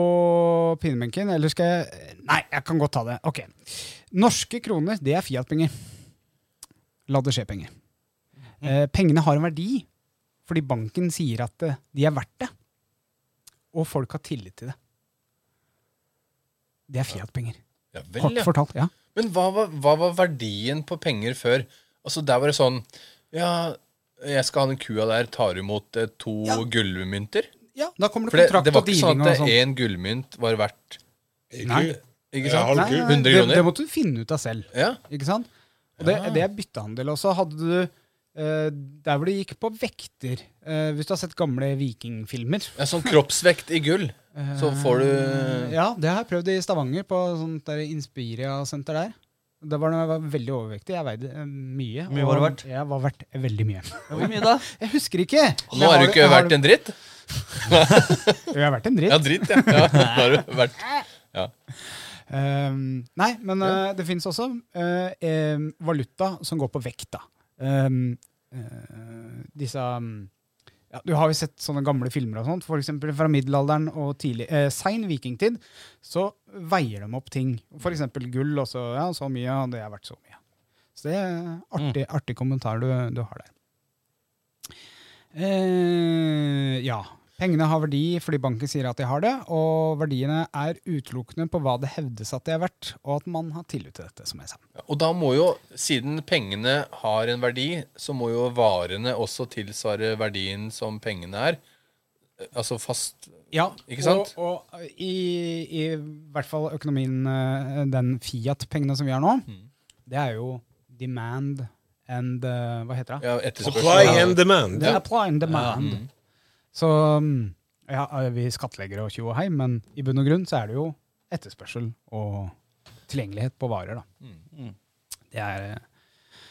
pinebenken, eller skal jeg Nei, jeg kan godt ta det. Ok. Norske kroner, det er Fiat-penger. La det skje-penger. Eh, pengene har en verdi fordi banken sier at eh, de er verdt det. Og folk har tillit til det. Det er Fiat-penger.
Ja,
Kort
vel, ja.
fortalt. ja.
Men hva var, hva var verdien på penger før? Altså, der var det sånn Ja, jeg skal ha den kua der. Tar du imot eh, to gullmynter?
Ja, da kommer
For
det
det,
kontrakt
det var
og
ikke sånn
dealing og
at
sånn.
én gullmynt var verdt
Nei.
Ikke-
Ikke
Ja,
sant?
halv
Nei,
kul.
nei,
100
det,
kroner.
det måtte du finne ut av selv.
Ja.
Ikke sant? Og det, det er byttehandel også. Hadde du eh, Der hvor det gikk på vekter eh, Hvis du har sett gamle vikingfilmer eh,
ja, sånn kroppsvekt i gull, så får du
Ja, det har jeg prøvd i Stavanger, på sånt der Inspiria-senter der. Det var da jeg var veldig overvektig. Jeg veide eh, mye.
mye var det verdt?
Jeg var verdt veldig mye.
Hvor mye, da?
Jeg husker ikke!
Og Nå har du ikke vært en dritt?
Jo, jeg har vært en dritt.
Ja, dritt, ja. ja. Nå har du vært
Ehm, nei, men eh, det finnes også eh, em, valuta som går på vekt, da. Ehm, eh, disse um, ja, Du har jo sett sånne gamle filmer og sånt, f.eks. fra middelalderen og tidlig, eh, sein vikingtid. Så veier de opp ting. F.eks. gull. Og så, ja, så mye, og det er verdt så mye. Så det er artig, artig kommentar du, du har der. Eh, ja. Pengene har verdi fordi banken sier at de har det, og verdiene er utelukkende på hva det hevdes at de er verdt, og at man har tillit til dette, som jeg sa.
Og da må jo, siden pengene har en verdi, så må jo varene også tilsvare verdien som pengene er. Altså fast
Ja,
Ikke sant?
Og, og i, i hvert fall økonomien, eh, den Fiat-pengene som vi har nå,
Mm.
det er jo demand and eh, Hva heter det?
ja,
Supply
etterspørsel.
and demand.
Det er apply and demand. Så mm, ja, vi skattlegger og tjo og hei, men i bunn og grunn så er det jo etterspørsel og tilgjengelighet på varer, da. Det er eh,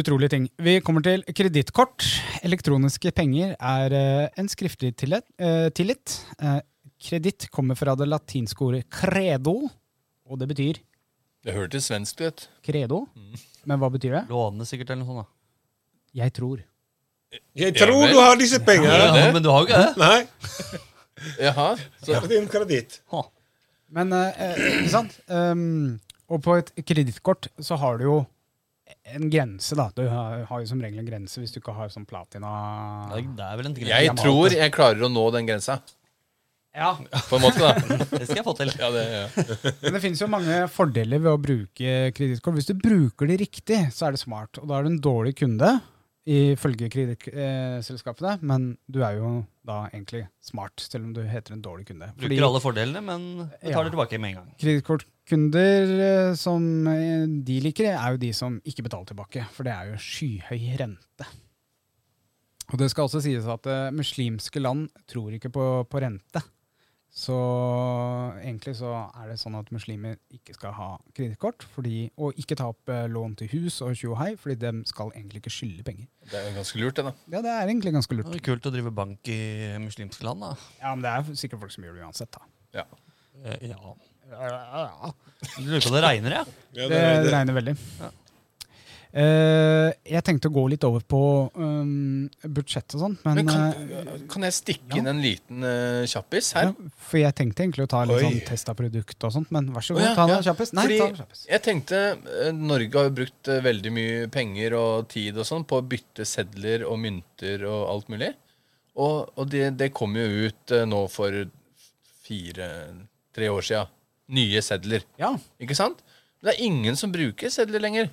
utrolige ting. Vi kommer til kredittkort. Elektroniske penger er eh, en skriftlig tillit. eh, tillit. Eh, Kreditt kommer fra det latinske ordet credo, og det betyr
Det hørtes svensk ut.
credo. Men hva betyr det?
Låne sikkert eller noe sånt. da.
Jeg tror.
Jeg tror du har disse pengene.
Ja, men du har jo ikke det?
Nei,
Jaha.
det er din kreditt.
Men eh, eh, ikke sant? Um, og på et kredittkort så har du jo en grense, da. Du har, har jo som regel en grense hvis du ikke har sånn platina
Det er- Det er vel en greie.
Jeg tror jeg klarer å nå den grensa,
Ja,
på en måte, da.
Det skal jeg få til.
Ja, det, ja.
Men det finnes jo mange fordeler ved å bruke kredittkort. Hvis du bruker det riktig, så er det smart. Og da er du en dårlig kunde, ifølge kredittselskapene, men du er jo da egentlig smart, selv om du heter en dårlig kunde. Fordi-
Bruker alle fordelene, men betaler tilbake med en gang.
Kredittkortkunder eh, som eh, de liker, er jo de som ikke betaler tilbake, for det er jo skyhøy rente. Og det skal også sies at eh, muslimske land tror ikke på, på rente. Så egentlig så er det sånn at muslimer ikke skal ha kredittkort, fordi- og ikke ta opp eh, lån til hus og tjo og hei, fordi de skal egentlig ikke skylde penger.
det er jo ganske lurt, det, da.
Ja, det er egentlig ganske
Det
lurt.
er kult å drive bank i muslimske land, da.
Ja, men det er sikkert folk som gjør det uansett, da.
Ja.
Eh, Ja. Du lurer på om det regner, ja?
Ja,
Det, det regner veldig. Eh, jeg tenkte å gå litt over på um, budsjett og sånt, men,
Men kan,
eh,
kan jeg stikke inn en liten eh, kjappis
ja,
her?
For jeg tenkte egentlig å ta litt
Oi.
sånn test av produkt og sånt, men vær så
Å,
god,
ja,
ta den
ja.
kjappest. Nei,
Fordi
ta den kjappest.
jeg tenkte eh, Norge har jo brukt eh, veldig mye penger og tid og sånn på å bytte sedler og mynter og alt mulig. Og, og det, det kom jo ut eh, nå for fire-tre år sia. Nye sedler.
Ja.
Ikke sant? Det er ingen som bruker sedler lenger.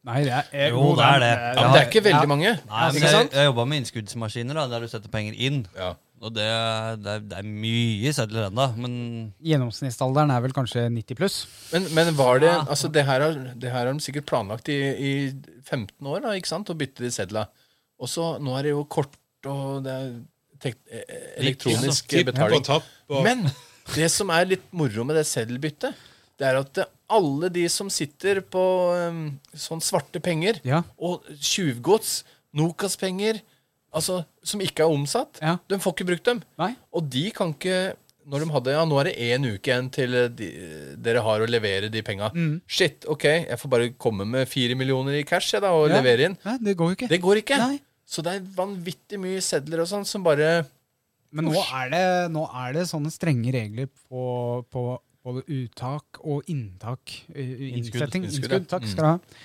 Nei, det er, eh,
Jo, det er det.
Ja, altså, men det er ikke veldig mange.
Nei, men
ikke
jeg,
sant?
jeg jobba med innskuddsmaskiner, da, der du setter penger inn.
Ja.
Og det, er- det, er- det er mye sedler ennå, men
Gjennomsnittsalderen er vel kanskje 90 pluss.
Men, men var det Altså, det her har, det her har de sikkert planlagt i, i 15 år, da, ikke sant? Å bytte de sedla. Og så nå er det jo kort, og det er tek eh, elektronisk
Tipp på
betaling.
tapp. Og,
Men det som er litt moro med det seddelbyttet, det er at eh, alle de som sitter på eh, sånn svarte penger
Ja.
og tjuvgods, Nokas-penger, altså som ikke er omsatt,
Ja.
de får ikke brukt dem.
Nei?
Og de kan ikke Når de hadde Ja, nå er det én uke igjen til eh, de, dere har å levere de penga.
Mm.
Shit, OK, jeg får bare komme med fire millioner i cash jeg da, og
Ja.
levere inn.
Nei, det går jo ikke.
Det går ikke.
Nei.
Så det er vanvittig mye sedler og sånn som bare
Men nå er, det, nå er det sånne strenge regler på, på både uttak og inntak. eh,
Innskudd.
Innsetting. Innskudd,
Innskudd, ja.
takk skal du ha.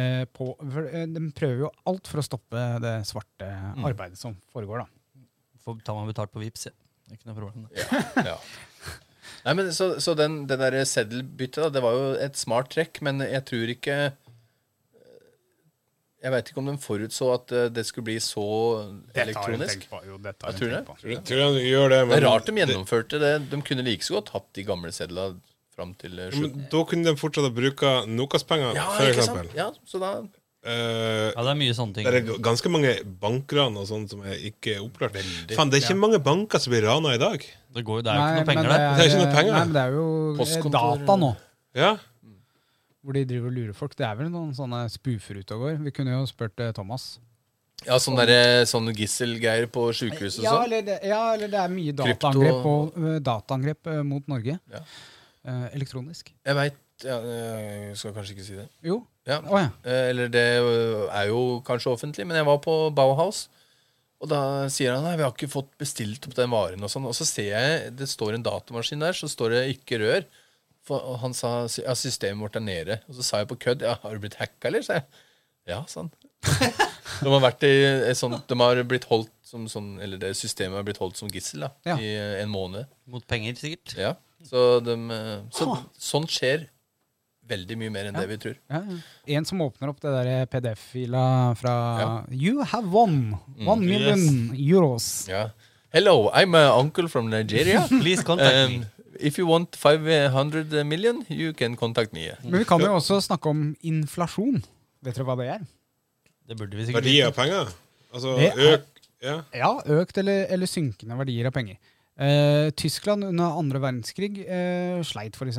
Eh, på, for, eh, de prøver jo alt for å stoppe det svarte arbeidet som foregår. Da.
får tar man betalt på Vipps, ja. Det er Ikke noe problem. det.
Ja. Nei, men Så, så den, det derre seddelbyttet, da, det var jo et smart trekk, men jeg tror ikke eh, Jeg veit ikke om de forutså at eh, det skulle bli så elektronisk.
på. Jo, dette har
Jeg
hun
tror
tenkt
det.
på.
Jeg tror han gjør det,
Det
men
er rart de gjennomførte det. De kunne like så godt hatt de gamle sedla fram til eh,
Ja,
slutten.
men da kunne de fortsatt ha bruka Nokas-penger,
Ja,
for
ikke sant?
eksempel.
Ja, så da
Eh,
Ja, det er mye sånne ting.
det er g- ganske mange bankran og sånt som er ikke er oppklart. Faen, det er ikke mange banker som blir rana i dag.
Det, går, jo- det er jo ikke
men
noe penger der.
Det er ikke noe penger,
Nei,
da.
men det er jo eh,
Postkontor-
data nå,
Ja,
hvor de driver og lurer folk. Det er vel noen sånne spoofer ute og går. Vi kunne jo spurt eh, Thomas.
Ja, sånn derre sånn gisselgreier på sjukehus og
Ja
sånn.
eller, det, ja, eller det er mye
Krypto-
dataangrep, og, eh, dataangrep eh, mot Norge.
Ja.
Eh, elektronisk.
Jeg veit ja, eh, Jeg skal kanskje ikke si det.
Jo.
Ja.
Å ja.
Eh, Eller det ø, er jo kanskje offentlig, men jeg var på Bauhaus. Og da sier han nei, vi har ikke fått bestilt opp den varen. Og sånn. Og så ser jeg det står en datamaskin der, så står det 'ikke rør'. For, og han sa sy- ja, systemet vårt er nede. Og så sa jeg på kødd ja, 'har du blitt hacka', eller? sa jeg. Ja, sa han. De har, vært i et sånt, de har blitt holdt som sånn, eller det systemet har blitt holdt som gissel da,
Ja.
i eh, en måned.
Mot penger, sikkert.
Ja. Så, de, eh, så sånt skjer veldig mye mer enn det vi tror.
Ja, ja. En som åpner opp det der PDF-fila fra You have won one million euros.
Mm. Ja. Hello, I'm a uncle from Nigeria.
Please contact me.
Um, if you want 500 million, you can contact me.
Men vi kan jo også snakke om inflasjon. Vet dere hva det er?
Det burde vi sikkert
Verdi av penger? Altså
Det er-
øk Ja.
Ja, økt eller, eller synkende verdier av penger. Eh, Tyskland under andre verdenskrig eh, sleit f.eks.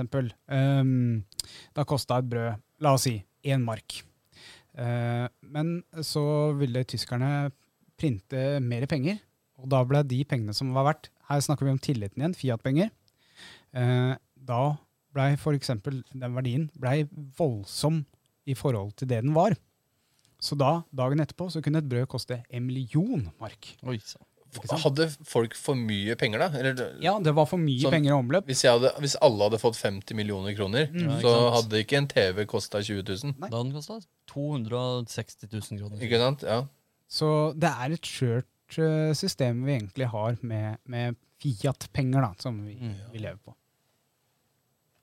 Um, da kosta et brød, la oss si, én mark. Eh, men så ville tyskerne printe mer penger, og da ble de pengene som var verdt Her snakker vi om tilliten igjen, Fiat-penger. Eh, da blei f.eks. den verdien blei voldsom i forhold til det den var. Så da, dagen etterpå, så kunne et brød koste en million mark.
Oi, sann.
Hadde folk for mye penger, da? Eller,
Ja, det var for mye
Sånn.
penger i omløp.
hvis, jeg hadde, hvis alle hadde fått 50 millioner kroner,
Mm.
så
Ja, ikke sant.
hadde ikke en TV kosta 20 000.
Nei.
Da den kosta 260 000 kroner.
Ikke sant? Ja.
Så det er et skjørt eh, system vi egentlig har med, med Fiat-penger, da, som vi, vi lever på.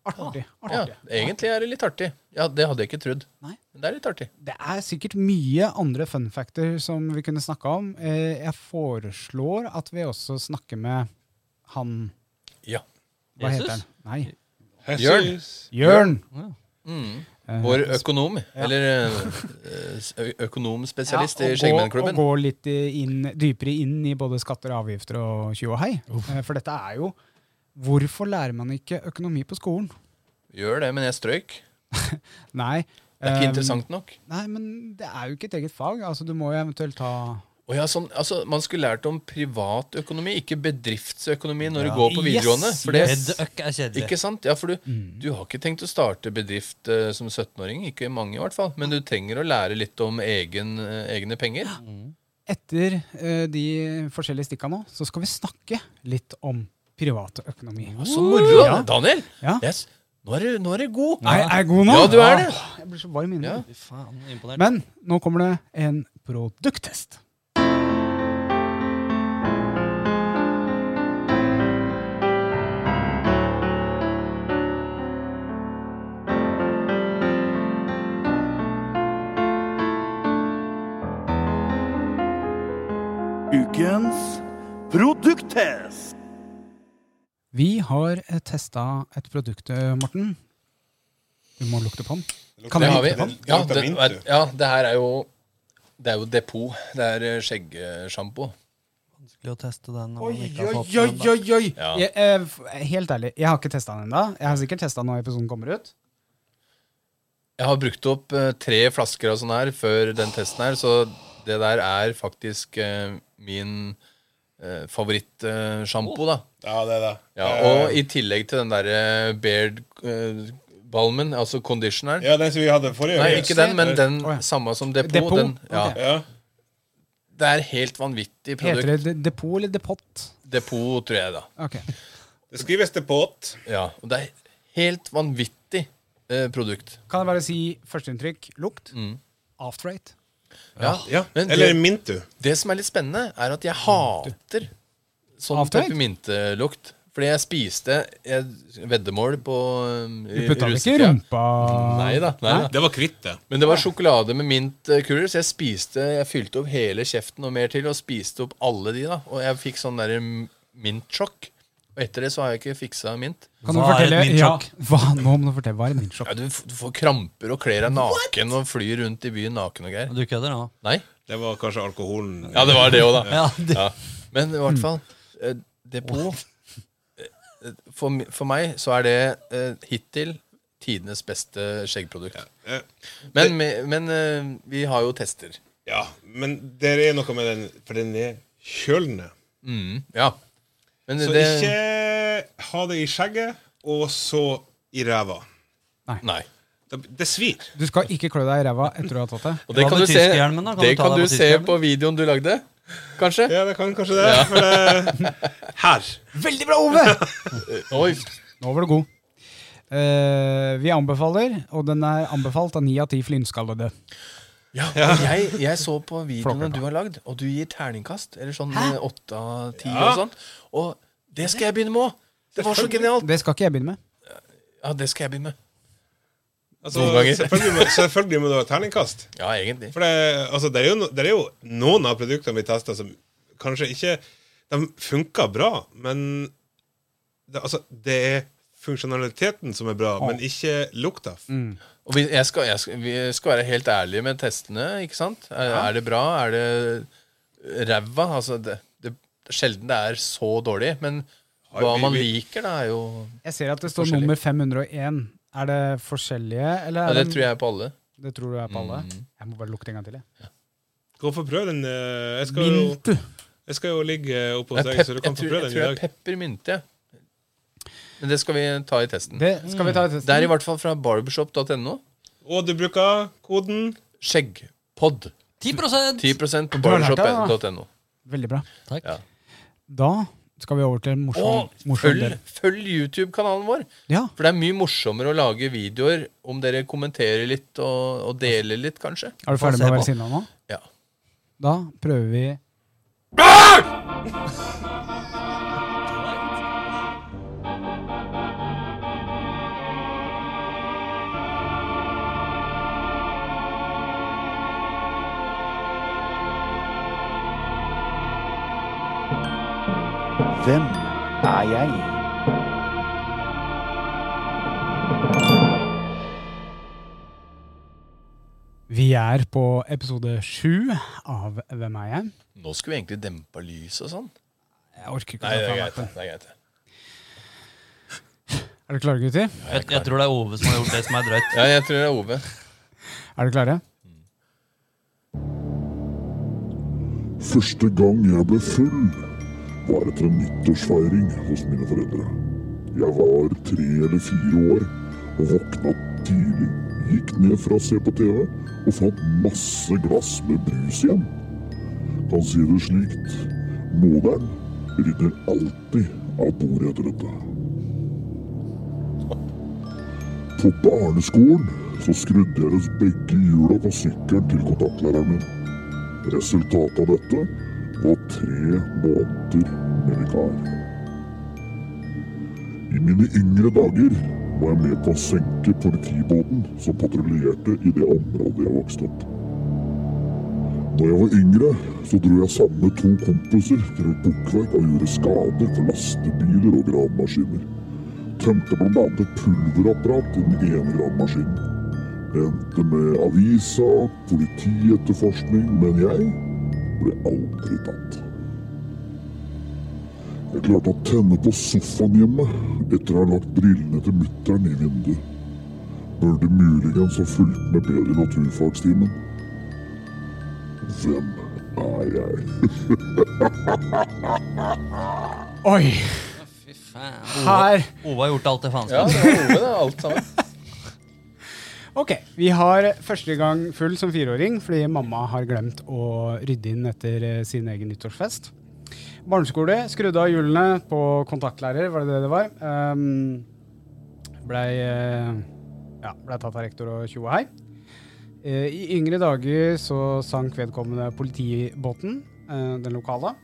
Artig.
Mm. ja.
artig.
Egentlig er det litt artig. Ja, Det hadde jeg ikke trodd.
Nei.
Men det er litt artig.
Det er sikkert mye andre fun factor som vi kunne snakka om. Eh, Jeg foreslår at vi også snakker med han
Ja.
Hva heter han?
Jesus?
Nei.
Jørn.
Jesus.
Jørn!
Mm.
Eh,
Vår økonom, eller eh, ø- økonomspesialist
Ja, og
i
gå-
Skjeggmennklubben.
Og gå litt i- inn, dypere inn i både skatter og avgifter og tjo og hei. Eh, For dette er jo Hvorfor lærer man ikke økonomi på skolen?
Gjør det, men jeg strøyk.
Nei.
Det er
eh,
ikke interessant nok.
Nei, men det er jo ikke et eget fag. Altså, du må jo eventuelt ta
Å ja, sånn, altså, man skulle lært om privatøkonomi, ikke bedriftsøkonomi, når du går på videregående.
Yes,
for det,
Edderøkk er kjedelig.
Ikke sant? Ja, for du,
Mm.
du har ikke tenkt å starte bedrift eh, som 17-åring. Ikke mange, i hvert fall. Men du trenger å lære litt om egen, eh, egne penger.
Etter eh, de forskjellige stikka nå, så skal vi snakke litt om privatøkonomi.
Så moro!
Ja.
Daniel!
Ja.
Yes. Nå, er du, nå er du god!
Er, er jeg god nå?
Ja, du er det.
Åh, Jeg blir så varm inni.
Ja.
Fy faen, imponert.
Men nå kommer det en produkttest.
Ukens produkttest.
Vi har testa et produkt, eh, Morten. Du må lukte på den. Kan
Det
jeg
har vi.
lukte på den?
Ja,
lukter
det,
mint,
er-
du.
ja, det her er jo Det er jo depot. Det er eh, skjeggsjampo.
Vanskelig å teste den.
Oi, oi, oi, oi, oi.
Ja.
Jeg, eh, f- helt ærlig, jeg har ikke testa den ennå. Jeg har sikkert testa den når episoden kommer ut.
Jeg har brukt opp eh, tre flasker av sånn her før den testen her, så det der er faktisk eh, min uh, favorittsjampo, da.
Ja, det er det.
Ja,
Eh,
og i tillegg til den derre beard eh, balmen, altså conditioner
ja, den som vi hadde forrige
Nei,
gang.
ikke den, men den
Å, ja.
samme som depot.
Depot,
Den, ja.
ok.
Ja.
Det er helt vanvittig
Heter
produkt.
det de- depot eller depot?
Depot, tror jeg, da.
Ok.
Det skrives til båt.
Ja, og det er helt vanvittig eh, produkt.
Kan jeg bare si førsteinntrykk? Lukt?
Mm.
Afterrate?
Ja. Men
Eller
det,
Mintu.
det som er litt spennende, er at jeg hater sånn
Afterrate?
peppermyntelukt. Fordi jeg spiste jeg, veddemål på eh,
Du putta den ikke i Ah.
russetida.
rumpa?
Nei da. Nei, da.
Det var kvitt, det.
Men det var sjokolade med mintkuler, så jeg spiste Jeg fylte opp hele kjeften og mer til, og spiste opp alle de, da. Og jeg fikk sånn derre mintsjokk. Og etter det så har jeg ikke fiksa mint.
Kan du
Hva er et
fortelle? Ja,
mintsjokk?
hva, nå må du fortelle. Hva er et mintsjokk?
Ja, du, f- du får kramper og kler deg naken og flyr rundt i byen naken og greier.
Du kødder nå?
Nei?
Det var kanskje alkoholen.
Ja, det var det òg, da.
Ja, det,
Ja. Men i hvert fall eh, Depot eh, for, mi- for meg så er det eh, hittil tidenes beste skjeggprodukt.
Eh,
Men, me- men eh, vi har jo tester.
ja, men det er noe med den, for den er kjølende.
Mm, ja. Men
Så
det
ikke ha det i skjegget, og så i ræva.
Nei.
Det, det svir.
Du skal ikke klø deg i ræva etter du har tatt det.
Og det
Hva
kan
med
du se,
tyskerhjelmen da? Kan
det
du ta
kan
deg
du
på
se
tyskerhjelmen?
på videoen du lagde, kanskje?
Ja, det kan kanskje det. For det her.
Veldig bra, Ove!
Eh, Oi,
Nå var du god. Eh, vi anbefaler, og den er anbefalt av ni av ti flynskallede.
Ja, og jeg, jeg så på videoene du har lagd, og du gir terningkast. Eller sånn eh, åtte av ti og sånt. Og det skal jeg begynne med òg! Det var så genialt!
Det skal ikke jeg begynne med.
Ja, det skal jeg begynne med.
Altså,
Noen ganger.
selvfølgelig, må, selvfølgelig må du ha terningkast.
Ja, egentlig.
For det, altså, det, er jo, no- det er jo noen av produktene vi tester som kanskje ikke De funker bra, men det, altså, det er funksjonaliteten som er bra, men ikke lukta.
Og vi, jeg skal, jeg skal, vi skal være helt ærlige med testene, ikke sant? Er, er det bra? Er det ræva? Altså, det, det, det er sjelden det er så dårlig, men
Har
hva
vi-
man
vi-
liker, da, er jo
Jeg ser at det står
Forskjellig.
nummer 501. Er det forskjellige, eller
ja,
er
Det tror jeg Mm. er på alle.
det tror du er på alle? Jeg må bare lukte en gang til, jeg.
Gå og få prøve den. eh, Jeg skal, jo,
Mint.
jeg skal jo ligge oppe hos
Det er
deg,
pep,
så
jeg
du
tror
kan få prøve
jeg
den
tror
i
jeg er
dag.
peppermynte. Men det skal vi ta i testen.
Det skal vi ta i
Mm. Det er i
testen.
hvert fall fra barbershop.no.
Og du bruker koden
Skjeggpod.
10
10 på
Du har lært deg, da.
barbershop.no.
Veldig bra.
Takk.
Ja.
Da skal vi over til en morsom,
Og
morsom
følg,
del.
følg YouTube-kanalen vår.
Ja.
For det er mye morsommere å lage videoer om dere kommenterer litt og, og deler litt, kanskje.
Er du ferdig med å være sinna nå?
Ja.
Da prøver vi
Hvem er jeg?
Vi er på episode sju av Hvem er jeg?
Nå skulle vi egentlig dempa lys og sånn.
Jeg orker ikke.
Nei, det
å ta
er greit.
den.
det er greit.
Er dere klare, gutter?
Jeg, jeg tror det er Ove som har gjort det som er drøyt.
Ja, jeg tror det er Ove.
Er dere klare?
Første gang jeg ble full, var etter en nyttårsfeiring hos mine foreldre. Jeg var tre eller fire år og våkna tidlig. Gikk ned for å se på TV og fant masse glass med brus igjen. Kan si det slikt. Moderen rydder alltid av bordet etter dette. På barneskolen så skrudde jeg løs begge hjula på sykkelen til kontaktlæreren min. Resultatet av dette var tre måneder med vikar. I mine yngre dager var jeg med på å senke politibåten som patruljerte i det området jeg vokste opp. Da jeg var yngre, så dro jeg sammen med to kompiser til et bukkverk og gjorde skade for lastebiler og gravemaskiner. Tømte bl.a. et pulverapparat i den ene gravemaskinen. Det endte med avisa, politietterforskning, men jeg ble aldri tatt. Jeg klarte å tenne på sofaen hjemme etter å ha lagt brillene til mutter'n i vinduet. Burde muligens ha fulgt med bedre i naturfagstimen. Hvem er jeg?
Oi! Her
Ove har gjort alt det faen
Ja, det
skal.
er Ove, det er alt sammen.
Ok, vi har første gang full som fireåring fordi mamma har glemt å rydde inn etter eh, sin egen nyttårsfest. Barneskole, skrudde av hjulene på kontaktlærer, var det det det var. Um, Blei eh, ja, ble tatt av rektor og tjo og hei. Eh, I yngre dager så sank vedkommende politibåten, eh, den lokale.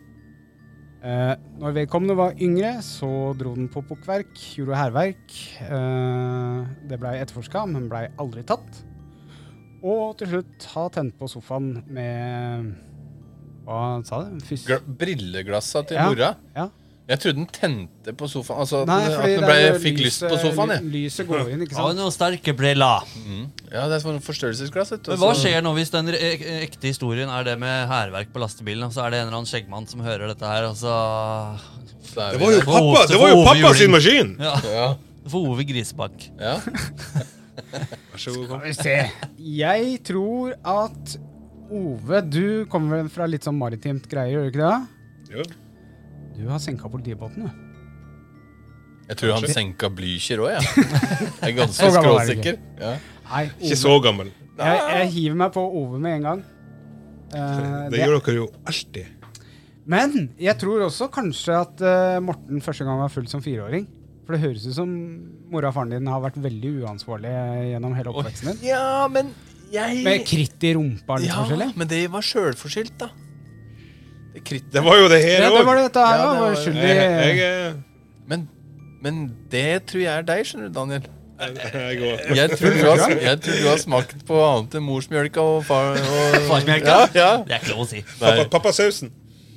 Eh, når vedkommende var yngre, så dro den på pukkverk, gjorde hærverk. Eh, det blei etterforska, men blei aldri tatt. Og til slutt ha tent på sofaen med Hva sa du? Fys
Gl- Brilleglasset til
Ja.
mora.
Ja.
Jeg trodde den tente på sofaen. Altså at
Nei,
den- at
fordi
den
det
ble,
er jo
fikk lyst på
lyset-
sofaen. Jeg.
Lyset går inn, ikke
Ja,
sant?
noen sterke briller.
Ja, det er sånn forstørrelsesglass. vet du,
Men hva
så-
skjer nå hvis den re- ek- ekte historien er det med hærverk på lastebilen, og så er det en eller annen skjeggmann som hører dette her, og så
Så er
Det
vi
var jo
der.
pappa, det var jo pappa sin maskin!
Ja,
Ja.
så får Ove grisebank.
ja.
Vær så god, kom.
Skal vi se. Jeg tror at Ove, du kommer vel fra litt sånn maritimt greie, gjør du ikke det?
Jo.
Du har senka politibåten, du.
Jeg tror han
Kanskje.
senka Blücher òg, jeg. Jeg er ganske
Så gammel er du
skråsikker. Ja.
Nei,
Ikke
Ove.
så gammel.
Jeg, jeg hiver meg på Ove med en gang. Eh,
Det gjør dere jo alltid.
Men jeg tror også kanskje at eh, Morten første gang var full som fireåring. For det høres ut som mora og faren din har vært veldig uansvarlig eh, gjennom hele oppveksten din.
ja, men
Med
Jeg
kritt i rumpa eller noe
Ja,
forskjellig?
men det var sjølforskyldt, da. Det kritt-
Det var jo det her
Ja, det var
òg.
det dette her,
Ja,
da.
det
Var
var-
skyld
Jeg, jeg,
i
jeg,
Men, men det tror jeg er deg, skjønner du, Daniel.
jeg går.
Jeg tror du har, jeg tror du har smakt på annet enn morsmjølka og far... Og,
Farsmelka?
Ja,
Det er ikke lov å si.
ja.
Pappa- Pappasausen.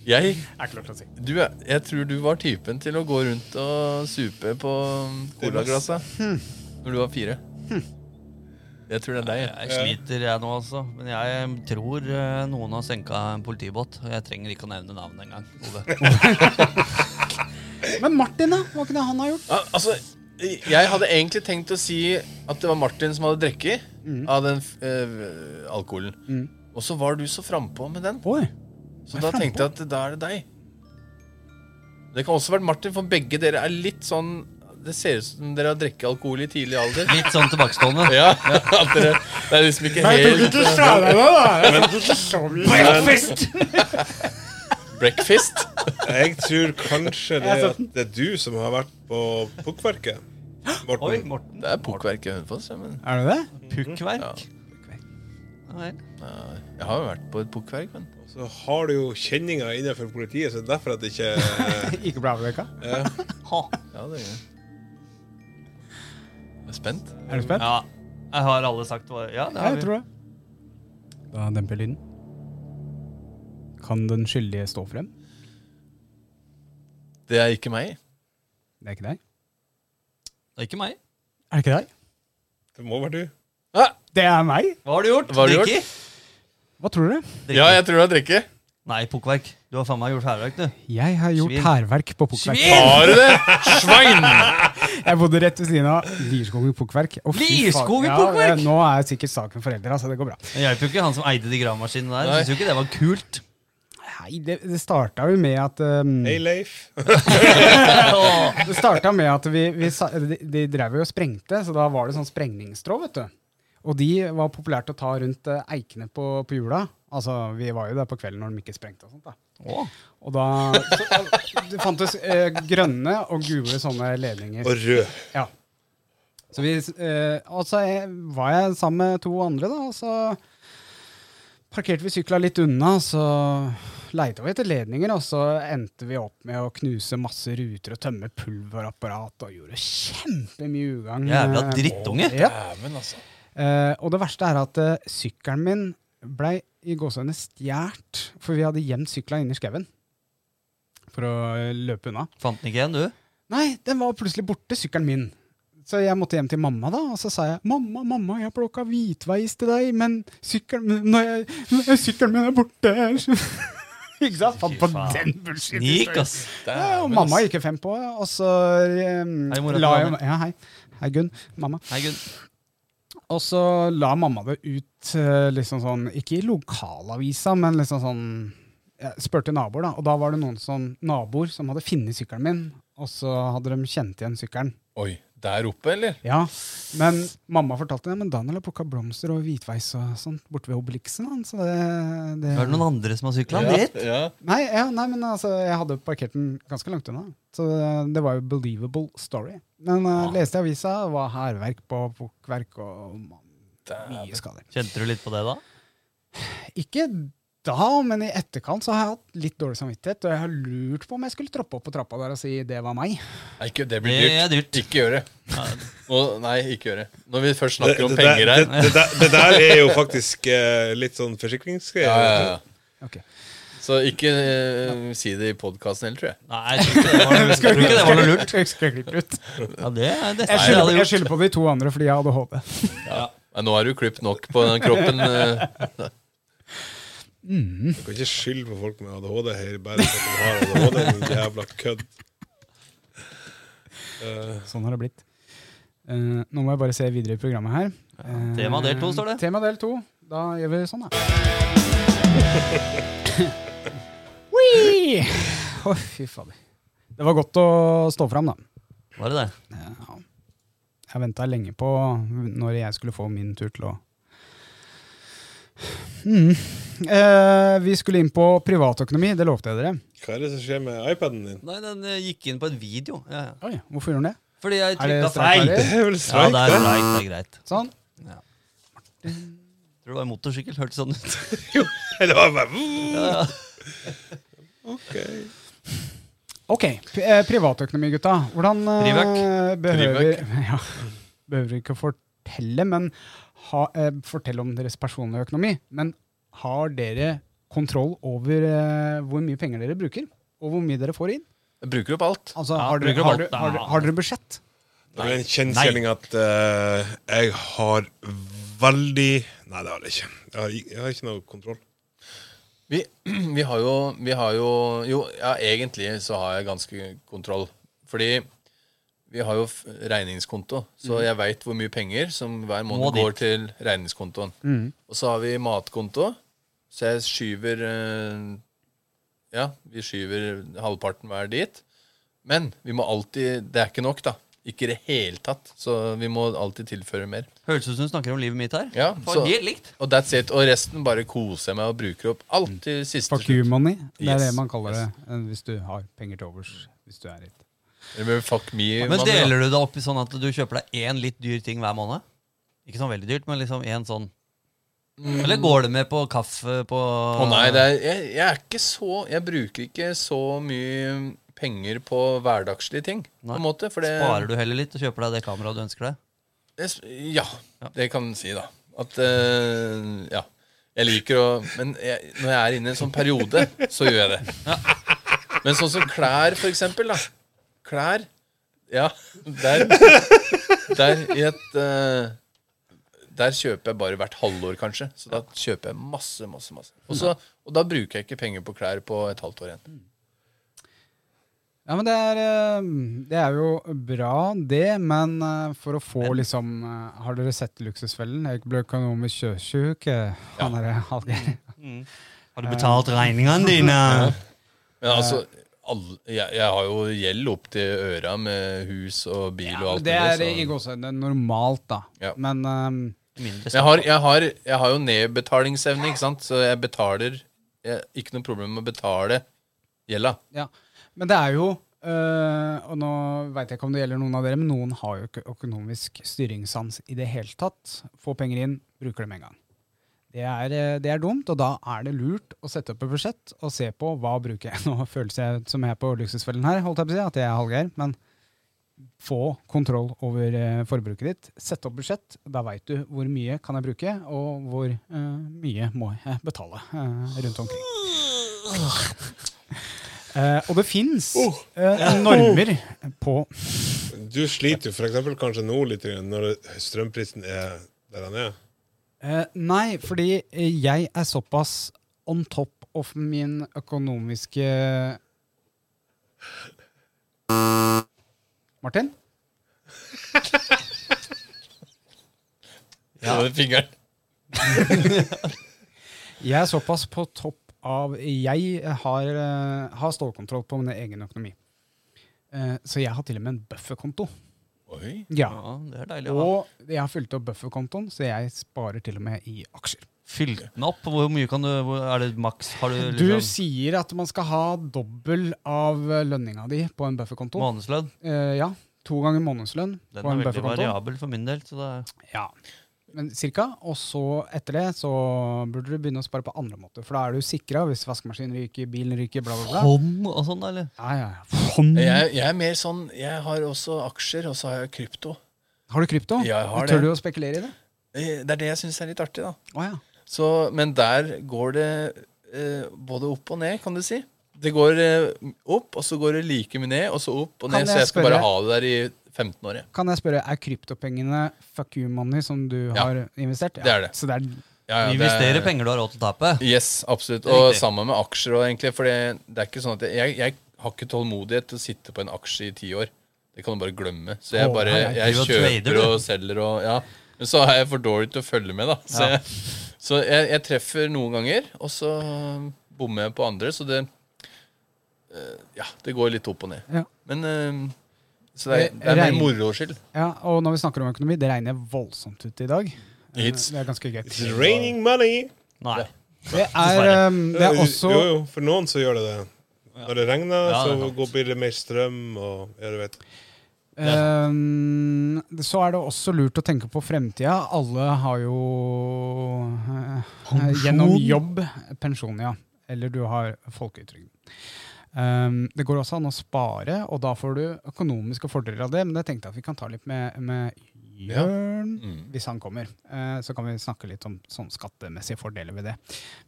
Nei, jeg,
Er ikke lov til å si.
du, er- jeg tror du var typen til å gå rundt og supe på colaglasset når du var fire. Jeg tror det er deg.
Jeg sliter, jeg nå, altså. Men jeg tror eh, noen har senka en politibåt. Og jeg trenger ikke å nevne navnet engang. Ove.
Men Martin, da? Hva kunne han ha gjort?
Ja, altså, jeg hadde egentlig tenkt å si at det var Martin som hadde drukket av den eh, alkoholen. Og så var du så frampå med den,
Oi.
så da tenkte jeg at da er det deg. Det kan også vært Martin, for begge dere er litt sånn Det ser ut som dere har drukket alkohol i tidlig alder.
Litt sånn tilbakestående.
Ja, at dere, Det er liksom ikke helt
Breakfast!
breakfast.
Jeg tror kanskje det, at det er du som har vært på pukkverket.
Oi,
Morten.
Morten.
Det er pukkverk i Hønefoss. ja, Men
Er det det?
Pukkverk. Ja. vel.
jeg har jo vært på et pukkverk. Men
Så har du jo kjenninger innenfor politiet, så det er derfor at det ikke eh,
Ikke ble avdekka?
Ha.
ja, det er jeg. Jeg er spent.
Er du spent?
Ja. Jeg har alle sagt hva Ja, det
Ja,
har
jeg
vi.
tror det. Da demper lyden. Kan den skyldige stå frem?
Det er ikke meg.
Det er ikke deg.
Det er ikke meg.
Er det ikke deg?
Det må være du.
Ah,
Det er meg.
Hva har du gjort?
Hva har du gjort?
Drikker?
Hva tror du?
ja, jeg tror det er drikke.
Nei, pukkverk. Du har faen meg gjort hærverk, du.
Jeg har gjort
Svin.
hærverk på pukkverk.
Har du det? Svein!
Jeg bodde rett ved siden av Lierskogen pukkverk. Å, fy faen.
Lierskogen
Ja,
pukkverk?
det- nå er sikkert saken for eldre, altså. Det går bra.
Det hjelper jo ikke han som eide de gravemaskinene der.
Nei.
Syns jo ikke det var kult.
Nei, det, det starta jo med at um,
Hei, Leif.
Det starta med at vi, vi sa- de, de drev jo og sprengte, så da var det sånn sprengningstråd, vet du. Og de var populært å ta rundt eh, eikene på, på jula. Altså, vi var jo der på kvelden når de ikke sprengte og sånt, da.
Å.
Og da så, Det fantes eh, grønne og gule sånne ledninger.
Og rød.
Ja. Så vi, eh, og så eh, var jeg sammen med to andre, da, og så parkerte vi sykla litt unna, så leita vi etter ledninger, og så endte vi opp med å knuse masse ruter og tømme pulverapparat, og gjorde kjempemye ugagn.
Jævla
eh,
drittunge.
Ja.
Dæven, altså.
Eh, og det verste er at eh, sykkelen min blei i gåsehudene stjålet, for vi hadde gjemt sykla inni skauen for å eh, løpe unna.
Fant den ikke igjen, du?
Nei, den var plutselig borte, sykkelen min. Så jeg måtte hjem til mamma, da, og så sa jeg mamma, mamma, jeg plukka hvitveis til deg, men sykkelen min, når jeg, når sykkelen min er borte. ikke sant? Fant på
Fy faen.
den bullshit.
Snik, ass.
Ja, og mamma gikk jo fem på, og så um,
Hei, mora til
la jeg
Daniel.
Ja, hei. Hei, Gunn. Mamma.
Nei, Gunn.
Og så la mamma det ut, eh, liksom sånn, ikke i lokalavisa, men liksom sånn Jeg spurte naboer, da, og da var det noen sånn naboer som hadde funnet sykkelen min, og så hadde de kjent igjen sykkelen.
Oi, der oppe, eller?
Ja, men mamma fortalte det, men Daniel har plukka blomster og hvitveis og sånt borte ved Obelixen. Han, så det, det...
Er det noen andre som har sykla? Dritt.
ja.
Nei, ja, nei, men altså, jeg hadde parkert den ganske langt unna. Så det- det var jo believable story. Men
Ah.
uh, leste i avisa, det var hærverk på pukkverk og mye skader.
Kjente du litt på det da?
Ikke da, men i etterkant så har jeg hatt litt dårlig samvittighet, og jeg har lurt på om jeg skulle troppe opp på trappa der og si 'det var meg'.
Nei, ikke, det blir
Det
dyrt.
er dyrt.
Ikke gjør det. Nå- nei, ikke gjør det. Når vi først
Det,
snakker om
det, der-
penger her
det, det, der- det der er jo faktisk eh, litt sånn forsikringsgreier.
ja, ja, ja.
Ok.
Så ikke eh, si det i podkasten heller, tror jeg.
Nei, jeg tror ikke det var noe- jeg tror ikke det var noe lurt.
Skal jeg- skal jeg klippe ut?
Ja, det er det
Jeg
jeg hadde
skylder jeg
gjort.
skylder på de to andre fordi jeg hadde HD.
Nei, nå har du klippet nok på den kroppen. eh.
Du kan ikke skylde på folk med ADHD her bare for at de har ADHD. Din jævla kødd. Eh,
Sånn har det blitt. Eh, nå må jeg bare se videre i programmet her. Eh,
tema del to, står det.
Tema del to. Da gjør vi sånn, da. Ui! Å, fy fader. Det var godt å stå fram, da.
Var det det?
Ja. Jeg venta lenge på når jeg skulle få min tur til å mm. eh, Vi skulle inn på privatøkonomi, det lovte jeg dere.
hva er det som skjer med iPaden din?
Nei, den eh, gikk inn på en video. Ja, ja.
Oi, hvorfor gjorde den det?
Fordi jeg
Er det
trykka
streikere?
feil.
Det er vel
Ja,
streik,
det er
da.
greit. Det er greit.
Sånn.
Tror det var en motorsykkel. Hørtes sånn ut.
Det var bare Ok.
Ok, pri- eh, privatøkonomi, gutta. Hvordan eh,
Privak.
behøver ja, Behøver ikke å fortelle, men ha, eh, fortelle om deres personlige økonomi. Men har dere kontroll over eh, hvor mye penger dere bruker? Og hvor mye dere får inn?
Jeg bruker opp alt.
Altså,
Ja,
har, dere,
bruker
har,
alt,
dere, har, dere, har dere budsjett?
Det er vel en kjensgjerning at eh, jeg har veldig Nei, det har jeg ikke. Jeg har, ik- jeg har ikke noe kontroll.
Vi, vi har jo Vi har jo Jo, ja, egentlig så har jeg ganske kontroll. Fordi vi har jo f- regningskonto, så jeg veit hvor mye penger som hver
Mm. Må
måned
dit. Mm.
går til regningskontoen. Og så har vi matkonto, så jeg skyver eh, Ja, vi skyver halvparten hver dit. Men vi må alltid Det er ikke nok, da. Ikke i det hele tatt. Så vi må alltid tilføre mer.
Høres ut som du snakker om livet mitt her.
Ja,
For
så-
helt likt.
Og that's it. Og resten bare koser jeg meg og bruker opp alt til siste
Fuck you money. Det er
Yes.
det man kaller det eh, hvis du har penger til overs. Hvis du er litt
Det blir fuck me.
Men deler du det opp i sånn at du kjøper deg én litt dyr ting hver måned? Ikke sånn veldig dyrt, men liksom én sånn. Eller går det med på kaffe på
Mm. Å nei, det er, jeg, jeg er ikke så Jeg bruker ikke så mye penger på hverdagslige ting.
Nei.
På en måte, for det,
Sparer du heller litt og kjøper deg det kameraet du ønsker deg?
det Ja, det kan en si, da. At eh, Ja. Jeg liker å Men jeg, når jeg er inne i en sånn periode, så gjør jeg det. Men sånn som klær, for eksempel. Da. Klær Ja, der Der i et eh, Der kjøper jeg bare hvert halvår, kanskje. Så da kjøper jeg masse, masse, masse. Og, så, og da bruker jeg ikke penger på klær på et halvt år igjen.
Ja, men det er, eh, det er jo bra, det, men eh, for å få liksom eh, Har dere sett Luksusfellen? Jeg ble økonomisk sjøsjuk. eh, Han er Hallgeir.
Har du betalt regningene dine?
Men altså, alle, jeg, jeg har jo gjeld opp til øra med hus og bil og alt
Det er
mulig, så-
i gåseøynene normalt, da.
Ja.
Men eh,
Mindre
Men jeg har, jeg, har, jeg har jo nedbetalingsevne, ikke sant? så jeg betaler jeg, har Ikke noe problem med å betale gjelda.
Ja, men det er jo øh, Og nå veit jeg ikke om det gjelder noen av dere, men noen har jo ikke økonomisk styringssans i det hele tatt. Få penger inn, bruker det med en gang. Det er, øh, det er dumt, og da er det lurt å sette opp et budsjett og se på hva bruker jeg. Nå føles jeg ut som jeg er på luksusfellen her, holdt jeg på å si, at jeg er Hallgeir, men få kontroll over øh, forbruket ditt. Sett opp budsjett, da veit du hvor mye kan jeg bruke, og hvor øh, mye må jeg betale øh, rundt omkring. Eh, og det fins normer på
Du sliter jo for eksempel kanskje nå litt grann når strømprisen er der den er.
Eh, Nei, fordi eh, jeg er såpass on top of min økonomiske Martin?
Ja. Fingeren.
Jeg er såpass på topp av Jeg har, eh, har stålkontroll på min egen økonomi. Eh, så jeg har til og med en bufferkonto.
Oi.
Ja.
Ja, det er deilig å ha.
Og jeg har fylt opp bufferkontoen, så jeg sparer til og med i aksjer.
Fylt den opp. Hvor mye kan du hvor, Er det maks? Har du
Du
liksom
sier at man skal ha dobbel av eh, lønninga di på en bufferkonto.
månedslønn?
Eh, ja, to ganger månedslønn
Den
på en
er veldig
bufferkonto.
variabel for min del. Så det er
Ja. Men cirka. Og så etter det så burde du begynne å spare på andre måter. For da er du sikra hvis vaskemaskinen ryker, bilen ryker, bla, bla, bla.
Hånd og sånn, da, eller?
Ja, ja, ja.
Jeg, jeg er mer sånn Jeg har også aksjer, og så har jeg krypto.
Har du krypto?
Ja, jeg har
Tør du
det.
å spekulere i det?
Eh, Det er det jeg syns er litt artig, da.
Å ja.
Så, men der går det eh, både opp og ned, kan du si. Det går eh, opp, og så går det like mye ned, og så opp og
Kan
ned. Så
jeg
jeg skal
spørre-
bare ha det der i 15 år, jeg.
Kan jeg spørre, er kryptopengene fuck you money som du har investert?
det er det.
Så det er
Ja, ja,
Du
det er-
investerer penger du har råd til å tape.
Yes, absolutt.
Det er
Og
riktig.
sammen med aksjer òg, egentlig. For det, det er ikke sånn at jeg, jeg, jeg har ikke tålmodighet til å sitte på en aksje i ti år. Det kan du bare glemme. Så jeg
Å,
bare
nei,
nei,
jeg
du er trader,
kjøper
du.
og selger og Ja. Men så er jeg for dårlig til å følge med, da. Så,
Ja.
jeg, så jeg, jeg treffer noen ganger, og så bommer jeg på andre. Så det eh, Ja, det går litt opp og ned.
Ja.
Men eh, Så det er, det er
Regn-
mer moro skyld.
Ja, og når vi snakker om økonomi, det regner voldsomt ut i dag. Eh,
It's-
det er ganske greit.
It's raining money! Eh,
Nei.
Det er, um, det er også
Jo, jo, for noen så gjør det det. Når det regner,
Ja, det er
så
sant.
går blir det mer strøm og ja, du vet.
Ehm, um, Så er det også lurt å tenke på fremtida. Alle har jo eh, Eh, Gjennom jobb, pensjon, ja. Eller du har folketrygd. Ehm, det går også an å spare, og da får du økonomiske fordeler av det. Men jeg tenkte at vi kan ta litt med, med Jørn, hvis han kommer. Eh, så kan vi snakke litt om sånn skattemessige fordeler ved det.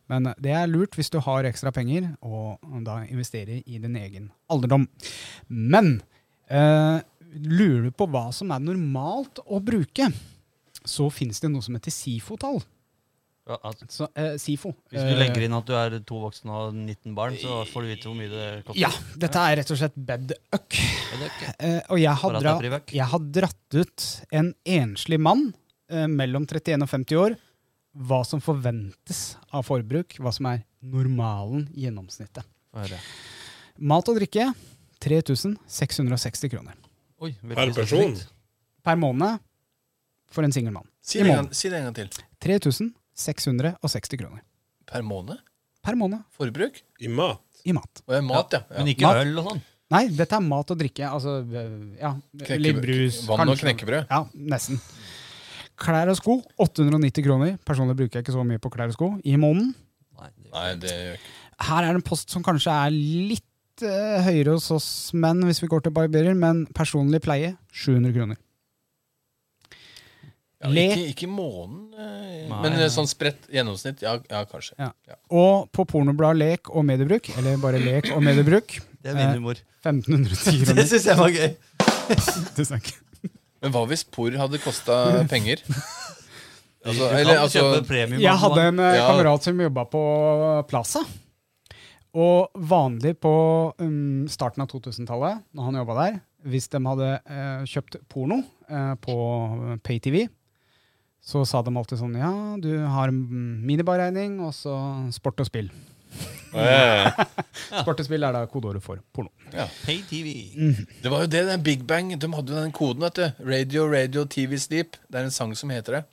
Men det er lurt hvis du har ekstra penger, og da investere i din egen alderdom. Men eh, lurer du på hva som er normalt å bruke, så fins det noe som heter SIFO-tall.
Ja, altså, at
Så, eh, SIFO.
hvis du legger inn at du er to voksne og 19 barn, så får du vite hvor mye det koster.
Ja, dette er rett og slett bedøk.
Er det ikke?
Eh, og jeg har,
Bare at det
dra,
er privat.
jeg har dratt ut en enslig mann eh, mellom 31 og 50 år. Hva som forventes av forbruk, hva som er normalen, gjennomsnittet.
Hva er det?
Mat og drikke 3660 kroner.
Oi, veldig
Per
så
person?
snilt.
Per måned for en singel mann.
Si
I
det, en
måneden.
gang, si det en gang til.
3660 kroner.
Per måned?
Per måned
Forbruk?
I mat?
i mat.
Og mat, ja. ja.
Men ikke
Mat.
øl og sånn.
Nei, dette er mat og drikke. Altså, øh, ja,
Knekke-
litt brus.
Vann og
kanskje.
knekkebrød.
Ja, nesten. Klær og sko 890 kroner. Personlig bruker jeg ikke så mye på klær og sko i måneden.
Nei, det-
Nei, det gjør jeg ikke.
Her er det en post som kanskje er litt eh, høyere hos oss menn, hvis vi går til barberer, men personlig pleie 700 kroner.
Ja,
Le-
ikke, ikke i måneden, eh,
Nei,
men
nei.
sånn spredt gjennomsnitt. Ja, ja kanskje.
Ja. Og på pornoblad lek og mediebruk, eller bare lek og mediebruk,
Det er min humor.
1510
Det
kroner.
syns jeg var gøy.
Tusen takk.
Men hva hvis porr hadde kosta penger?
Du
altså,
kan
eller,
kjøpe
altså
premium.
Jeg hadde en eh,
Ja.
kamerat som jobba på eh, Plaza. Og vanlig på um, starten av 2000-tallet, når han jobba der, hvis de hadde eh, kjøpt porno eh, på PayTV, så sa de alltid sånn Ja, du har mm, minibarregning, og så sport og spill.
Eh,
Sport og spill er da kodeordet for porno.
sånn. Pay TV.
Mm.
Det var jo det, den Big Bang. De hadde jo den koden, vet du. Radio, radio, TV Sleep. Det er en sang som heter det.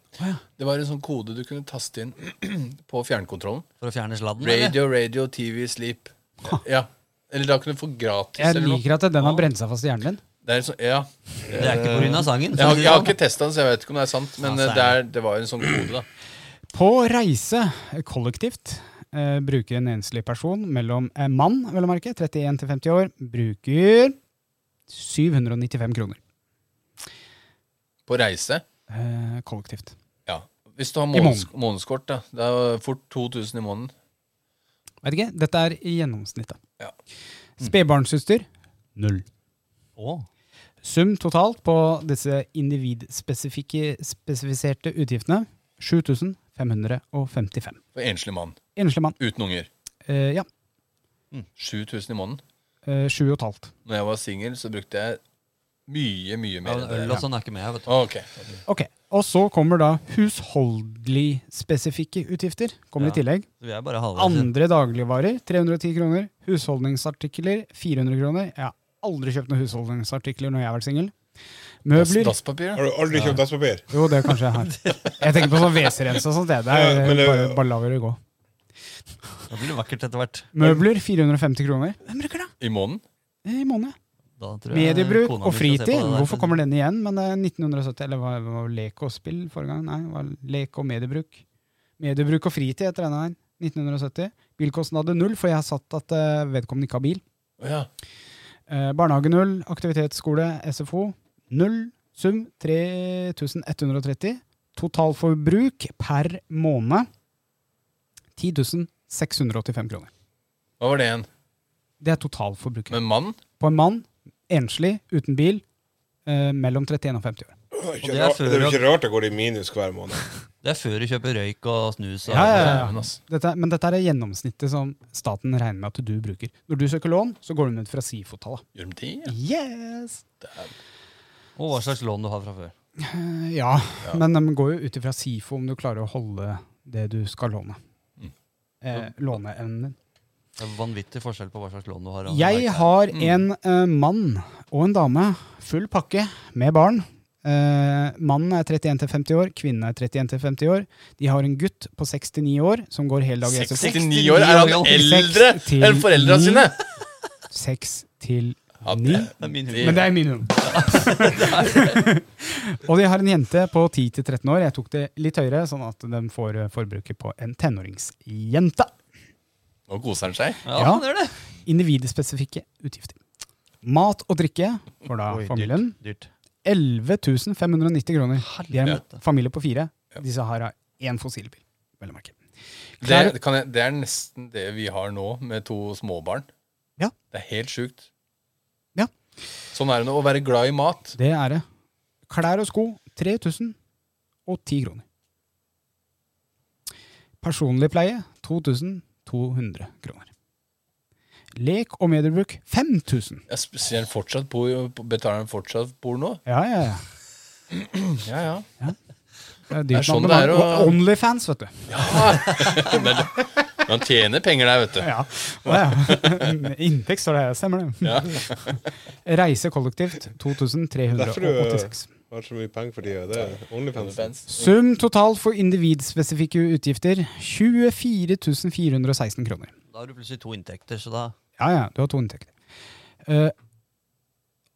Det var en sånn kode du kunne taste inn på fjernkontrollen.
For å fjerne sladden? eller?
Radio, radio, TV Sleep. Ja. Eller da kunne du få gratis
Jeg
eller noe.
liker at den har brent seg fast i hjernen din.
Det er en sånn, ja.
Det er ikke pga. sangen. for
Jeg
å
har,
si det
jeg har
sånn.
ikke testa den, så jeg vet ikke om det er sant. Men
Ja,
eh, det, er, det var en sånn kode, da.
På reise eh, kollektivt eh, bruker en enslig person mellom eh, mann, vel å merke, 31 til 50 år, bruker 795 kroner
På reise.
eh, kollektivt.
Ja. Hvis du har
I
måneds, månedskort, da. Det er jo fort 2000 i måneden.
Vet ikke, dette er i gjennomsnittet.
Ja.
Spedbarnssyster null.
Å,
Sum totalt på disse individspesifikke spesifiserte utgiftene 7555.
For enslig mann.
Enslig mann.
Uten unger.
Eh, ja,
7000 i måneden.
eh, sju og et halvt.
Når jeg var singel, så brukte jeg mye, mye
ja,
mer.
men
enn
øl
det.
og sånn er ikke med her, vet du.
Ok.
Ok, Og så kommer da husholdelig-spesifikke utgifter. kommer
Ja.
i tillegg.
Så vi er bare halvveis. inn.
Andre dagligvarer 310 kroner. Husholdningsartikler 400 kroner. Jeg har aldri kjøpt noen husholdningsartikler når jeg har vært singel.
Dass-
Møbler
Dasspapir, ja.
Har du aldri kjøpt dasspapir?
Jo, det kanskje jeg har. Jeg tenker på sånn WC-rense og sånt. Det, det er
Ja, men det-
bare, bare la det gå.
Det blir vakkert etter hvert.
Møbler 450 kroner. Hvem bruker det?
I måneden.
I måneden.
Da tror jeg
Mediebruk
eh, kona
og
mi skal se på
fritid.
det der.
Hvorfor kommer den igjen? Men eh, 1970, eller var det lek og spill forrige gang? Nei, det var lek og mediebruk. Mediebruk og fritid etter denne her. 1970. Bilkostnader null, for jeg har satt at eh, vedkommende ikke har bil.
Å Ja.
Eh, Barnehage null, aktivitetsskole, SFO null. Sum 3130. Totalforbruk per måned 10 685 kroner.
Hva var det igjen?
Det er totalforbruket.
Med mann?
På en mann, enslig, uten bil, eh, mellom 31 og 50
Det
år.
er jo
Og
ikke
det er
rart-
før
det er jo
at-
ikke rart det går i minus hver måned.
Det er før du kjøper røyk og snus. Og
Ja, ja, ja.
Dæven, ass.
Dette, er- men dette er gjennomsnittet som staten regner med at du bruker. Når du søker lån, så går de ut fra SIFO-tallet.
Gjør de ti?
Yes!
Og hva slags lån du har fra før.
Eh, Ja, men de går jo ut ifra SIFO om du klarer å holde det du skal låne.
Mm.
Eh, Låneevnen din.
Det er vanvittig forskjell på hva slags lån du har. og-
Jeg har
Mm.
en eh, mann og en dame, full pakke, med barn. Eh, mannen er 31 til 50 år, kvinnen er 31 til 50 år. De har en gutt på 69 år som går hele dag i SFO.
69 år? Er han
69
eldre
til
enn foreldra
ni.
sine?
6 til
Ja,
9.
det-
Det er min humor.
Men det er min hund. Og de har en jente på 10-13 år. Jeg tok det litt høyere, sånn at de får eh, forbruket på en tenåringsjente.
Nå koser han seg.
Ja,
Ja.
det er det.
Individspesifikke utgifter. Mat og drikke for da
Oi,
familien.
Dyrt.
11 590 kroner. De er
Helvete.
en familie på fire. Disse her har én fossilbil. vel å merke.
Det,
Klær-
kan jeg, det er nesten det vi har nå, med to småbarn.
Ja.
Det er helt sjukt.
Ja.
Sånn er det nå, å være glad i mat.
Det er det. Klær og sko 3000 og 10 kroner. Personlig pleie 2200 kroner. Lek og mediebruk 5000.
Jeg sp- ser han fortsatt på, betaler han fortsatt porno?
Ja, ja, ja.
Ja, ja.
Det er,
Det er
dyrt
sånn
med
det er
abonnement.
å-
Og Onlyfans, vet du.
Men han tjener penger der, vet du.
Ja. Å, ja. Inntekt står det her, stemmer det.
Ja.
Reise kollektivt
Derfor du
2386.
har så mye penger for tida. Det er OnlyFans.
Sum totalt for individspesifikke utgifter 24 416 kroner.
Da har du plutselig to inntekter, så da
Ja, ja, du har to inntekter. Eh,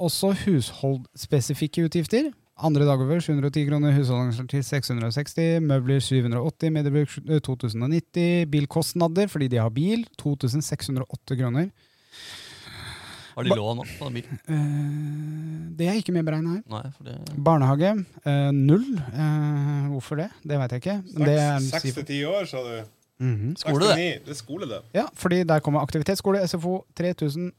også husholdspesifikke utgifter. Andre dagover 710 kroner, husholdningsartikkel 660, møbler 780, mediebruk eh, 2090, bilkostnader fordi de har bil 2608 kroner.
har de lån opp på den bilen.
Eh, det er ikke med beregna her.
Nei, for det
Barnehage eh, null. Eh, hvorfor det? Det veit jeg ikke. Men det er,
Seks til ti år, sa du.
Mhm.
Skole, det.
Seks til ni. Det er skole, det.
Ja, fordi der kommer aktivitetsskole, SFO, 3212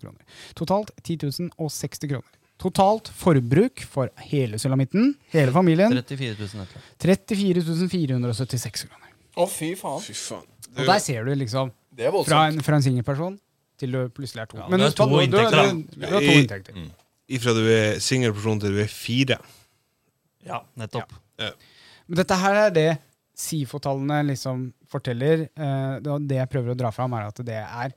kroner. Totalt 10.060 kroner. Totalt forbruk for hele sulamitten, hele familien,
34 000 etter.
34.476 kroner.
Å, fy faen.
Fy faen. Du,
Og der ser du liksom,
Det er
fra
voldsomt.
en, fra en singelperson til du plutselig er to.
det er
husk på,
to
du-
inntekter, da.
du, du, du har to
I-
inntekter.
ifra du er singelperson til du er fire.
Ja, nettopp.
Men dette her er det SIFO-tallene liksom forteller. eh, det- og det jeg prøver å dra fram, er at det er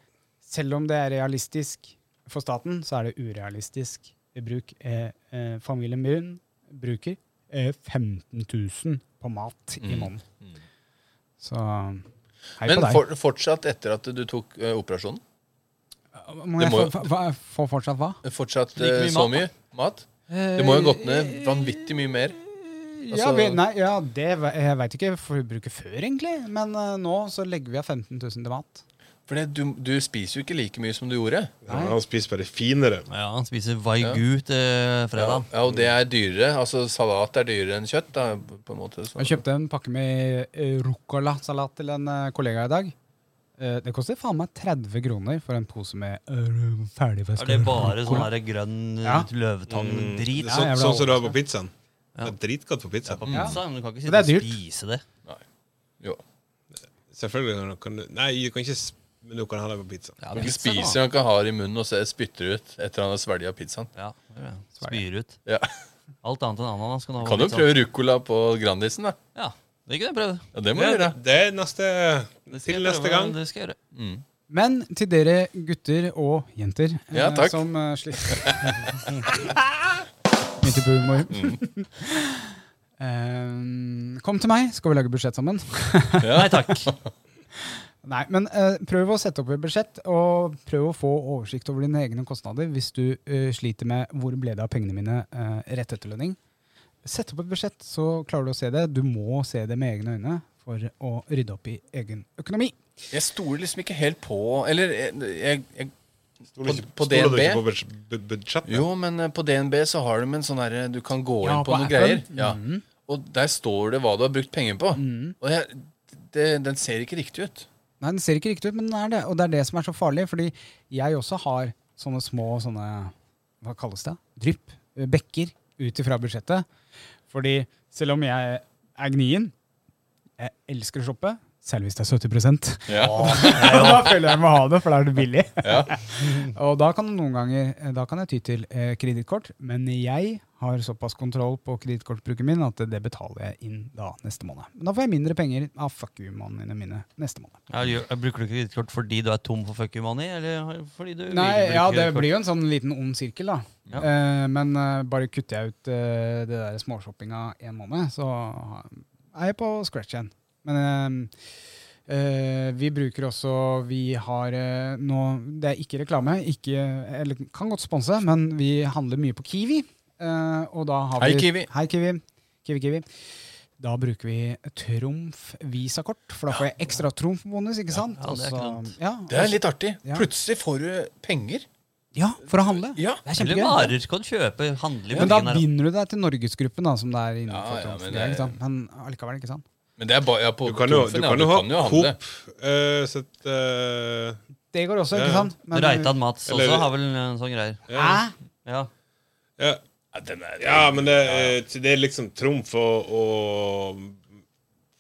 Selv om det er realistisk for staten, så er det urealistisk bruk. Eh, eh, familien min bruker eh, 15 000 på mat i måneden. Så hei på
Mm. Men
deg.
for, fortsatt etter at du tok eh, operasjonen?
Må
det
jeg
må jo-
få, få- få fortsatt hva?
Fortsatt
Like
eh,
mye
så
mat, da?
mye mat? Eh, Det må jo ha gått ned vanvittig mye mer.
Eh, ja,
Altså-
vi, nei, ja, det ve- jeg veit ikke forbruket før, egentlig. Men eh, nå så legger vi av 15 000 til mat.
For du, du spiser jo ikke like mye som du gjorde.
Ja, han spiser bare finere.
Ja, han spiser Vaigu til fredag.
Ja, og det er dyrere. Altså, salat er dyrere enn kjøtt, da, på en måte. Så.
Jeg kjøpte en pakke med eh, rucola-salat til en eh, kollega i dag. Eh, Det koster faen meg 30 kroner for en pose med eh, ferdigvaska
Er det bare sånn
rucola.
her grønn
Ja.
Det
løvetann-drit?
er
Ja,
Sånn
så- jeg ble
sånn som du har på pizzaen.
Ja.
Det er Dritgodt på pizza.
på pizza, men du kan
Det
ikke
er
sitte og
dyrt.
spise det.
Jo.
Selvfølgelig når du kan du Nei, du kan ikke s- Men du kan ha det på pizza.
Ja,
Han
pizza, da.
spiser han ikke har i munnen og så spytter ut etter han har svelget pizzaen.
Ja, det er det. Spyr ut.
Ja.
Alt annet enn ananas kan du ha på
Kan du
pizzaen.
sånn.
prøve ruccola på Grandisen, da?
sånn- Ja, det kan jeg prøve.
Ja, det må du
Det,
gjøre.
det er neste
Det skal
Til
jeg
neste
prøve,
gang.
Det skal jeg gjøre.
Men til dere gutter og jenter eh,
Ja, takk.
som eh, sliter Midt i på humor.
Mm.
Eh, kom til meg, skal vi lage budsjett sammen.
Nei takk.
Nei, men eh, prøv å sette opp et budsjett, og prøv å få oversikt over dine egne kostnader hvis du eh, sliter med hvor ble det av pengene mine eh, rett etter lønning. Sett opp et budsjett, så klarer du å se det. Du må se det med egne øyne for å rydde opp i egen økonomi.
Jeg stoler liksom ikke helt på Eller jeg, jeg, jeg
Stoler
På-
ikke-
på
stoler du
DNB?
ikke på buds- bu- budsjettet?
Jo, men eh, på DNB så har de en sånn herre Du kan gå
Ja,
inn på,
på Mm.
noen
appen.
greier. Ja. Og der står det hva du har brukt penger på.
Mm.
Og jeg, det, den ser ikke riktig ut.
Nei, den ser ikke riktig ut, men den er det. Og det er det som er så farlig, fordi jeg også har sånne små sånne Hva kalles det? Drypp? eh, Bekker ut ifra budsjettet. Fordi selv om jeg er gnien, jeg elsker å shoppe, selv hvis det er 70
Ja.
da føler jeg meg ha det, for da er det billig.
Ja.
og da kan, det noen ganger, da kan jeg ty til eh, kredittkort, men jeg har såpass kontroll på kredittkortbruken min at det betaler jeg inn da neste måned. Men da får jeg mindre penger av fuck you-månedene mine neste måned.
Ja, gjør- Bruker du ikke kredittkort fordi du er tom for fuck you money, eller fordi du
Nei, ja,
vil bruke
det
kredittkort?
blir jo en sånn liten ond sirkel, da.
Ja.
Eh, men eh, bare kutter jeg ut eh, det der småshoppinga en måned, så er jeg på scratch igjen. Men eh, Eh, vi bruker også Vi har eh, nå Det er ikke reklame, ikke, eller kan godt sponse, men vi handler mye på Kiwi. eh, og da har
Hei,
vi,
Kiwi.
Hei, Kiwi. Kiwi, Kiwi. Da bruker vi Trumf visakort, for da får jeg ekstra Trumf-bonus, ikke sant?
ja, det er
Og så-
ikke
ja,
Det er litt artig.
Ja.
Plutselig får du penger.
ja, for å handle.
Ja.
Det er
Eller
kjempegøy.
varer kan kjøpe, handle i
Men da
butikken her.
binder du deg til Norgesgruppen, da, som det er innenfor
Ja, ja,
Trumf.
men
det er
det-
ikke sant? Men allikevel, ikke sant?
Men det er bare ja, på
Du kan jo, du
Trumfen, ja,
kan jo ha
handle.
Coop eh, sitt eh,
Det går også,
Ja,
ikke
ja.
sant? Men-
Reitan Mats også
Eller-
har vel en sånn greier.
Hæ?
ja.
Ja.
Ja, den er,
ja, men det, eh, det er liksom Trumf og, og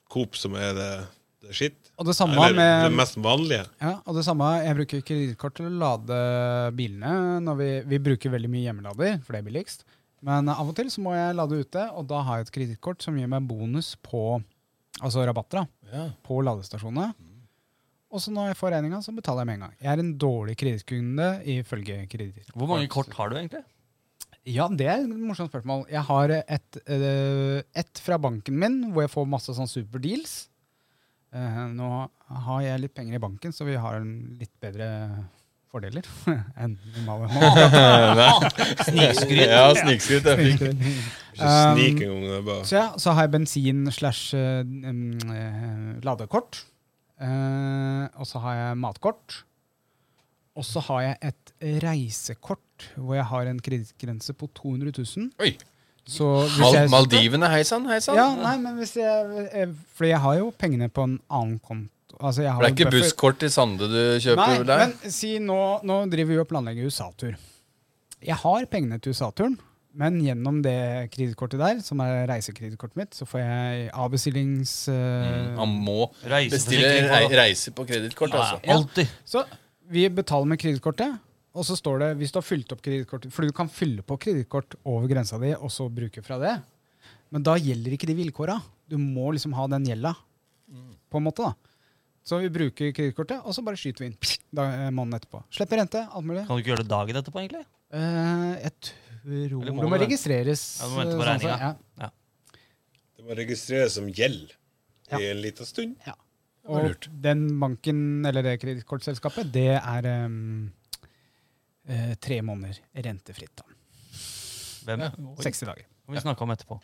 Coop som er det, det er skitt.
Og det samme
Eller det
med
mest vanlige.
ja, og det samme, Jeg bruker kredittkort til å lade bilene. Når vi, vi bruker veldig mye hjemmelader, for det er billigst. Men av og til så må jeg lade ute, og da har jeg et kredittkort som gir meg bonus på altså rabatter da,
ja.
på ladestasjonene. Og så når jeg får regninga, så betaler jeg med en gang. Jeg er en dårlig kredittkunde ifølge kreditt.
Hvor mange kort har du egentlig?
Ja, det er et morsomt spørsmål. Jeg har et, eh, et fra banken min, hvor jeg får masse sånn superdeals. Eh, Nå har jeg litt penger i banken, så vi har en litt bedre fordeler enn normale.
Snikskryt.
Ja, snikskryt er fint.
Ikke snik engang. det er bare-
Så ja, så har jeg bensin slash eh, em, eh, ladekort. Eh, og så har jeg matkort. Og så har jeg et reisekort hvor jeg har en kredittgrense på 200 000.
Oi.
Så hvis
Mal
jeg-
Maldivene, hei sann, hei sann.
Ja, nei, men hvis jeg, jeg Fordi jeg har jo pengene på en annen konto. Altså, jeg har
For det
jo
er ikke
buffer.
busskort til Sande du kjøper
Nei,
der?
men si nå, nå driver vi og planlegger USA-tur. Jeg har pengene til USA-turen, men gjennom det kredittkortet der, som er reisekredittkortet mitt, så får jeg avbestillings... eh,
Han må bestille
Reiseforsikring.
rei-
Ja,
reise på kredittkort, altså.
ja, Alltid.
Så vi betaler med kredittkortet, og så står det hvis du har fylt opp kredittkortet, for du kan fylle på kredittkort over grensa di, og så bruke fra det. Men da gjelder ikke de vilkåra. Du må liksom ha den gjelda, på en måte, da. Så vi bruker kredittkortet, og så bare skyter vi inn pst, da, eh, måneden etterpå. Slipper rente, alt mulig.
Kan du ikke gjøre det dagen etterpå, egentlig?
Eh, jeg tror
Eller må
Det må
det?
registreres.
Ja, du må vente på
eh, sånn
regninga.
sett, ja.
Det må registreres som gjeld
Ja.
i en liten stund.
var
Og den banken, eller det kredittkortselskapet, det er em, eh, tre måneder rentefritt. da.
Hvem?
Ja.
Oi,
60 dager.
Kan vi snakke om etterpå.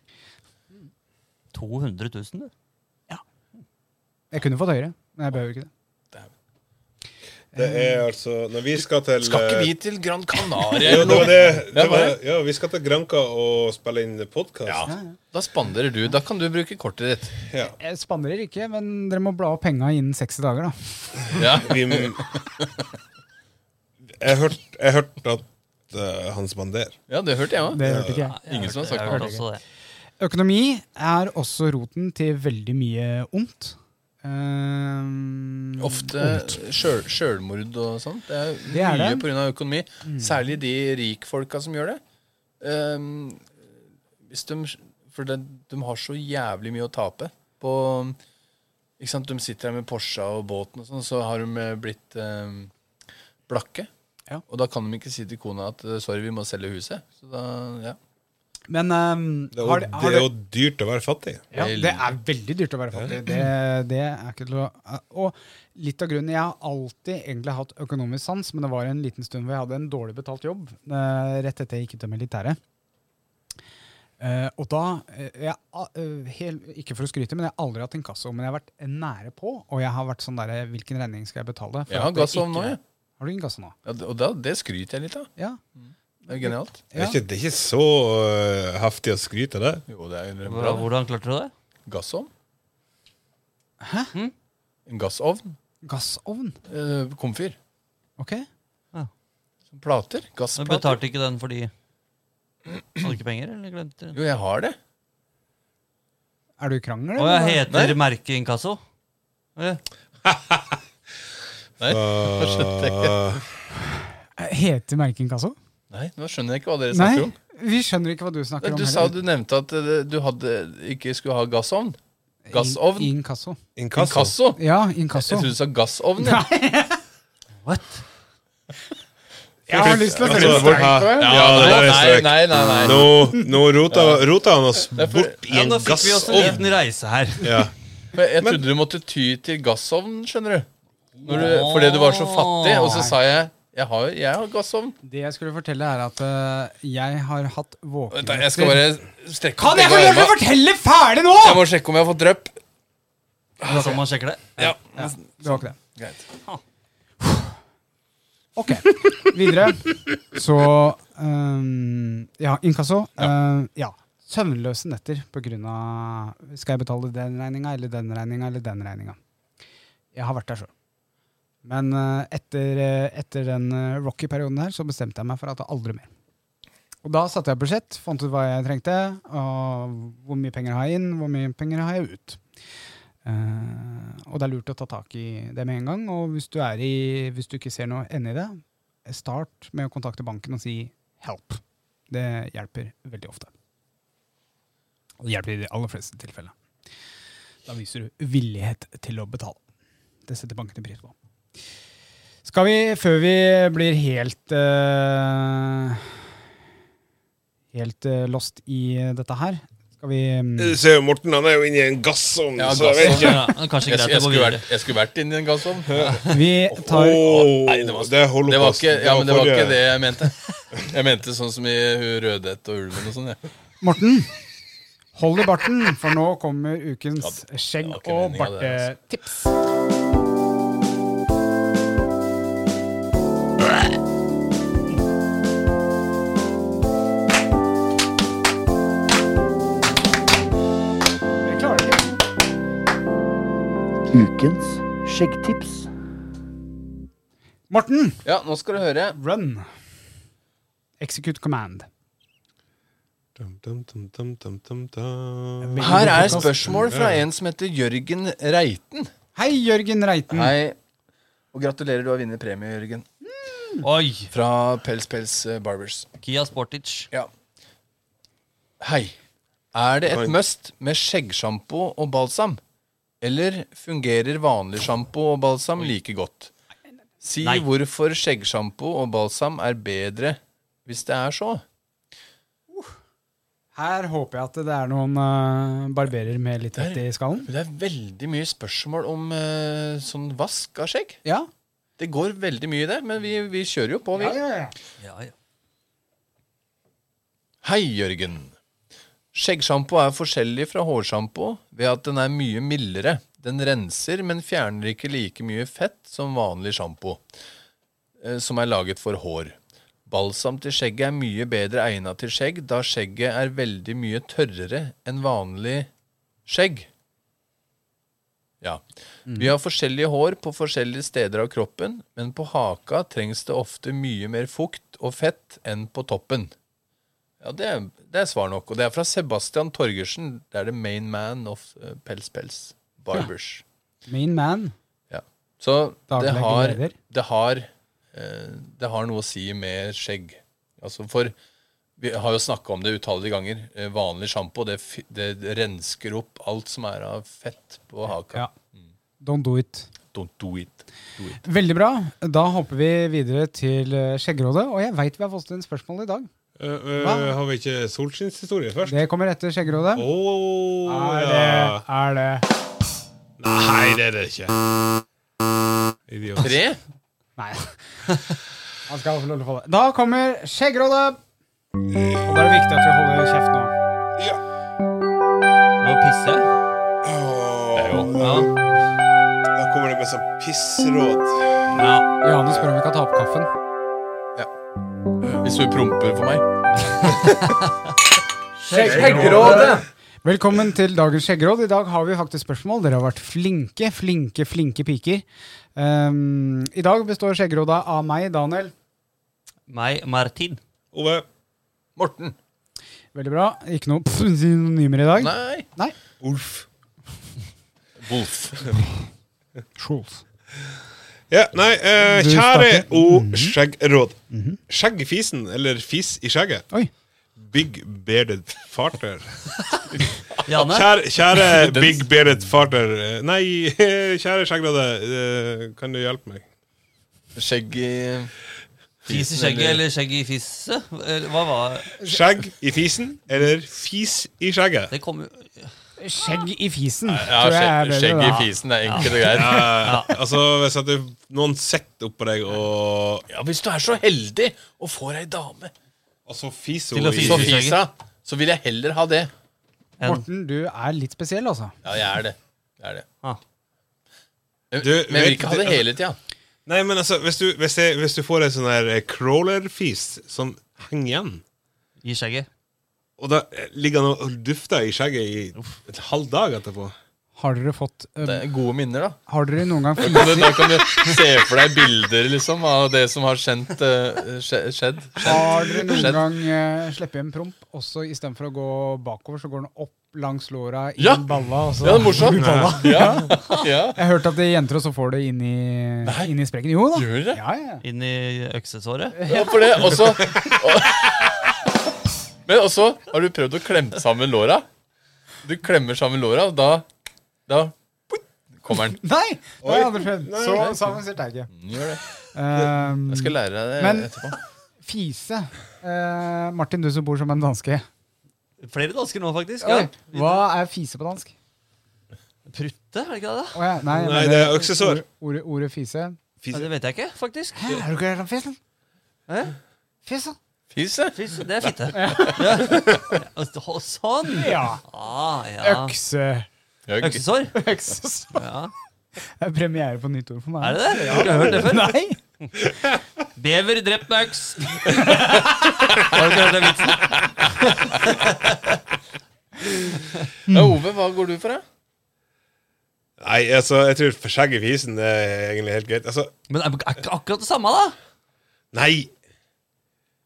200 000, du.
Jeg kunne fått høyere, men jeg behøver ikke det.
Det er altså Når vi skal til
Skal ikke
eh,
vi til Gran Canaria
jo,
eller
det var
noe?
det, det
Det var
var,
det.
ja, vi skal til Granca og spille inn podkast.
Ja. Da spanderer du. Da kan du bruke kortet ditt.
Jeg spanderer ikke, men dere må bla opp penga innen 60 dager, da.
Ja.
Vi m- Jeg hørte jeg hørte at eh, han spanderer.
ja, det hørte jeg òg.
Det hørte ikke jeg.
Ingen som har sagt
Jeg
noe.
hørte også det.
Økonomi er også roten til veldig mye ondt. Ehm, Em,
Ofte sjøl- sjølmord og sånn. Det er
Det er
mye
det. Mm.
pga. økonomi. Særlig de rikfolka som gjør det. Ehm, hvis de, for de, de har så jævlig mye å tape på ikke sant? De sitter her med Porsche og båten og sånn, så har de eh, blitt ehm, blakke.
Ja.
Og da kan de ikke si til kona at eh, 'sorry, vi må selge huset'. Så da, ja.
Men em,
Det er,
har
jo,
de- har
det er
de-
jo dyrt å være fattig.
Ja, det er veldig dyrt å være fattig. Det, det er ikke til å, og litt av grunnen Jeg har alltid egentlig hatt økonomisk sans, men det var en liten stund hvor jeg hadde en dårlig betalt jobb eh, rett etter jeg gikk ut av militæret. Eh, og da eh, jeg, a- eh, hel, Ikke for å skryte, men jeg har aldri hatt inkasso. Men jeg har vært nære på, og jeg har vært sånn derre Hvilken regning skal jeg betale? for
Jeg
at
har
det
gassovn nå,
ikke-
jeg.
Har du inkasso nå?
Ja, og da, det skryter jeg litt av.
Ja.
Det er jo genialt.
Det er
ja.
ikke, det er ikke så eh, heftig å skryte av det.
Jo, det er jo bra.
Hvordan- Hvordan klarte du det?
Gassovn? Hæ? En gassovn.
Gassovn?
Eh, komfyr.
Ok.
Som plater.
Men
Gassplater.
betalte ikke den fordi Hadde ikke penger, eller glemte
Jo, jeg har det.
Er du i krangel?
Å, jeg
eller?
heter merket inkasso? Ja.
Nei, nå skjønte jeg ikke.
Heter merket inkasso?
Nei, nå skjønner jeg ikke hva dere
Nei,
snakker om.
vi skjønner ikke hva du snakker om.
Du sa du nevnte at eh, du hadde, ikke skulle ha gassovn. Gassovn?
In- Inkasso.
Inkasso.
Inkasso?
Ja,
Jeg
inkasso.
trodde du sa gassovn. Ja.
What?
Jeg har lyst til å
Altså, hvor-
sette strek på det.
Ja, det der er
nei,
strek.
nei, nei, nei.
Nå, nå rota, rota han oss bort i
Ja,
en
nå fikk vi oss en
gassovn.
liten reise her.
Ja.
Men jeg trodde du måtte ty til gassovn, skjønner du. Når du fordi du var så fattig. Og så sa jeg jeg har, jeg har gassovn.
Det jeg skulle fortelle, er at eh, jeg har hatt
Vent da, Jeg skal
våkenetter
bare strekke
Kan jeg få
begge
lov til å
armene.
fortelle ferdig nå?!
Jeg må sjekke om jeg har fått drypp.
Sånn man sjekker det.
Ja.
Det var ikke det.
Greit.
Ok. Videre. Så ehm, Ja, inkasso. Ja. ja. Søvnløse netter på grunn av Skal jeg betale den regninga eller den regninga eller den regninga? Jeg har vært der sjøl. Men eh, etter, eh, etter den eh, Rocky-perioden her, så bestemte jeg meg for at det aldri mer. Og da satte jeg budsjett, fant ut hva jeg trengte, og hvor mye penger har jeg inn, hvor mye penger har jeg ut. Eh, og det er lurt å ta tak i det med en gang. Og hvis du, er i, hvis du ikke ser noe ende i det, start med å kontakte banken og si 'help'. Det hjelper veldig ofte. Og det hjelper i de aller fleste tilfellene. Da viser du villighet til å betale. Det setter bankene pris på. Skal vi, før vi blir helt eh, Helt eh, lost i dette her, skal vi
Du ser jo Morten, han er jo inne i en gassovn.
Ja,
så jeg vet ikke.
Ja, men kanskje
Jeg,
greit
jeg,
å gå
skulle
videre.
vært, jeg skulle vært inni en gassovn.
Vi tar
Åh,
Nei, det var-
det er holocaust.
Det var ikke, ja, men det var
forrige.
ikke det jeg mente. Jeg mente sånn som i hun Rødhette og ulven og sånn. Ja.
Morten, hold i barten, for nå kommer ukens skjegg-
det var ikke
og
meningen, det, altså.
bartetips. Dere klarer det ikke.
Ukens skjeggtips.
Morten,
ja, nå skal du høre.
run. Execute command.
Dum, dum, dum, dum, dum, dum, dum.
Her er spørsmål fra en som heter Jørgen Reiten.
Hei, Jørgen Reiten.
Hei. Og gratulerer, du har vunnet premie, Jørgen.
Oi!
Fra Pels Pels eh, Barbers.
Kia Sportage.
Ja. Hei. Er det et must med skjeggsjampo og balsam? Eller fungerer vanlig sjampo og balsam like godt? Si
Nei.
hvorfor skjeggsjampo og balsam er bedre hvis det er så.
Her håper jeg at det er noen eh, barberer med litt vett i skallen.
Men Det er veldig mye spørsmål om eh, sånn vask av skjegg.
Ja.
Det går veldig mye i det, men vi, vi kjører jo på, vi.
Ja, ja, ja.
Ja, ja.
Hei, Jørgen. Skjeggsjampo er forskjellig fra hårsjampo ved at den er mye mildere. Den renser, men fjerner ikke like mye fett som vanlig sjampo, eh, som er laget for hår. Balsam til skjegget er mye bedre egna til skjegg, da skjegget er veldig mye tørrere enn vanlig skjegg. Ja. Vi har forskjellige hår på forskjellige steder av kroppen, men på haka trengs det ofte mye mer fukt og fett enn på toppen. Ja, det er, det er svar nok. Og det er fra Sebastian Torgersen. Det er the main man of eh, Pels Pels Barbers.
Main man.
Ja. Så det
Daglig
har,
leder.
det, har, eh, det har noe å si med skjegg. Altså for Vi har jo snakka om det utallige ganger. Eh, Vanlig sjampo det, fi- det rensker opp alt som er av fett på haka.
Ja. Don't do it.
Don't do it. Do it.
Veldig bra. Da hopper vi videre til eh, Skjeggrådet. Og jeg veit vi har fått inn spørsmål i dag.
Eh, eh,
Hva?
har vi ikke solskinnshistorie først?
Det kommer etter Skjeggrådet.
Åh,
Er det,
ja.
er det
Nei, det er det ikke. Idiot.
Tre?
Nei. Han skal få lov til å få det. Da kommer Skjeggrådet! Og da er det viktig at vi holder kjeft nå.
Nå pisser jeg.
Åh,
Ja.
Da kommer det med sånn pissråd.
ja.
Johanne spør om vi kan ta opp kaffen.
Hvis du promper for meg.
Velkommen til dagens skjeggråd. I dag har vi faktisk spørsmål. Dere har vært flinke, flinke, flinke piker. Um, I dag består skjeggrådet av meg, Daniel.
Meg, Martin.
Ove.
Morten.
Veldig bra. Ikke noe pff, synonymer i dag.
Nei.
Nei.
Ulf.
Wolf.
Scholz.
Ja, nei, eh,
Du
kjære
starter.
O skjeggråd. Skjegg i fisen, eller fis i skjegget.
Oi.
Big bearded farter.
Janne.
Kjære, kjære big bearded farter. eh, Nei, kjære skjeggråde, eh, kan du hjelpe meg?
Skjegg i
Fis i
fisen,
skjegget eller skjegg i fisse? Eller Hva var
Skjegg i fisen, eller fis i skjegget?
Det kom jo
Skjegg i fisen,
Ja,
tror jeg er
skjegg,
bedre.
skjegg i
da.
fisen det er enkelt og greit.
Eh, altså, hvis at du, noen sitter oppå deg og,
Ja, Hvis du er så heldig og får ei dame
og så fiser
Til å
hun i
så
fise.
fisa, så vil jeg heller ha det.
En,
Morten, du er litt spesiell, altså.
Ja, jeg er det. Jeg er det.
Ah.
Men,
Du,
men jeg
vet-
vil ikke ha det
altså-
hele tida.
Nei, men altså, hvis du, hvis jeg, hvis du får en sånn her eh, crawler-fis som henger igjen,
I skjegget.
og da eh, ligger han og dufter i skjegget i et halv dag etterpå
Har dere fått eh,
Det er gode minner, da.
Har dere noen gang
Kan du,
fnist,
da kan du se for deg bilder liksom av det som har skjent, eh, skje- skjedd.
har dere noen
Skjedd.
gang eh, sluppet en promp, og så istedenfor å gå bakover, så går den opp langs låra i
Ja!
balla? Og så,
Ja, det er morsomt! Ja, ja.
Jeg hørte at det er jenter, og så får det inn i, inn i sprekken. Jo da.
Gjør det?
Ja, ja.
Inn i øksesåret.
ja for det også Men også har du prøvd å klemme sammen låra. Du klemmer sammen låra, og da, da kommer den.
Nei! Det har jeg aldri prøvd. Så avansert er det ikke.
Gjør det.
Ehm,
Mm. Jeg skal lære deg
Men-
det etterpå.
fise. Eh, Martin, du som bor som en danske.
Flere dansker nå, faktisk.
Oi,
Ja.
hva er fise på dansk?
Prutte, er det ikke det?
Å ja, nei, jeg
Nei,
mener-
det er øksesår.
Ord- Ordet, ordet fise.
Ja, det vet jeg ikke, faktisk.
Hæ, er du ikke om fisen?
Hæ?
Fisen?
Fis, ja.
Fys, det er fitte. Ja. Og Sånn!
Ja.
Ah, ja.
Økse.
Jeg har ikke-
Øksesår?
Øksesår.
Ja.
Det er premiere på nytt ord for meg.
Er det det? Har du hørt det før?
Nei.
Bever drept med øks. Har du ikke hørt den vitsen?
Ja, Ove, hva går du for, da?
Nei, altså, jeg tror for skjegget i fisen det er egentlig helt greit. Altså,
Men er det ikke akkurat det samme, da?
nei!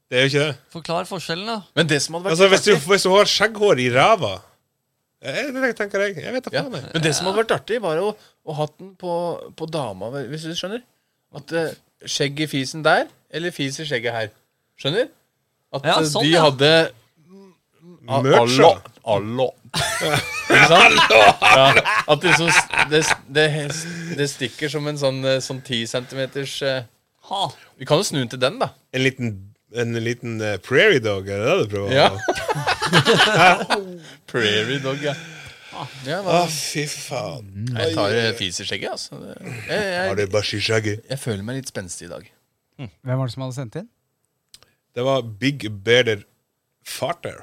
Det er jo ikke det.
Forklar forskjellen, da.
Men det som hadde vært
Altså, hvis du, hvis du har skjegghår i ræva eh, Det tenker jeg. Jeg vet da
Ja,
faen. jeg.
men det som hadde vært artig, var å, å hatt den på, på dama, hvis du skjønner. At eh, skjegg i fisen der, eller fis i skjegget her. Skjønner? At
Ja,
eh,
sånn,
de
ja.
hadde a-
Merch, ja.
allo- allo. Ikke sant? Ja, at det, liksom, s- det, s- det, s- det stikker som en sånn, eh, sånn 10 centimeters eh,
Ha.
Vi kan jo snu den til den, da.
En liten, en liten eh, prairie dog, er det det du prøver?
Ja.
å-
Prairie dog, ja.
Ah.
ja
Å,
hva?
fy faen.
Jeg tar eh, fis i skjegget, altså. Jeg,
Har
jeg,
du bæsj i skjegget?
jeg føler meg litt spenstig i dag.
Hvem var det som hadde sendt inn?
Det var Big Bearded Farter.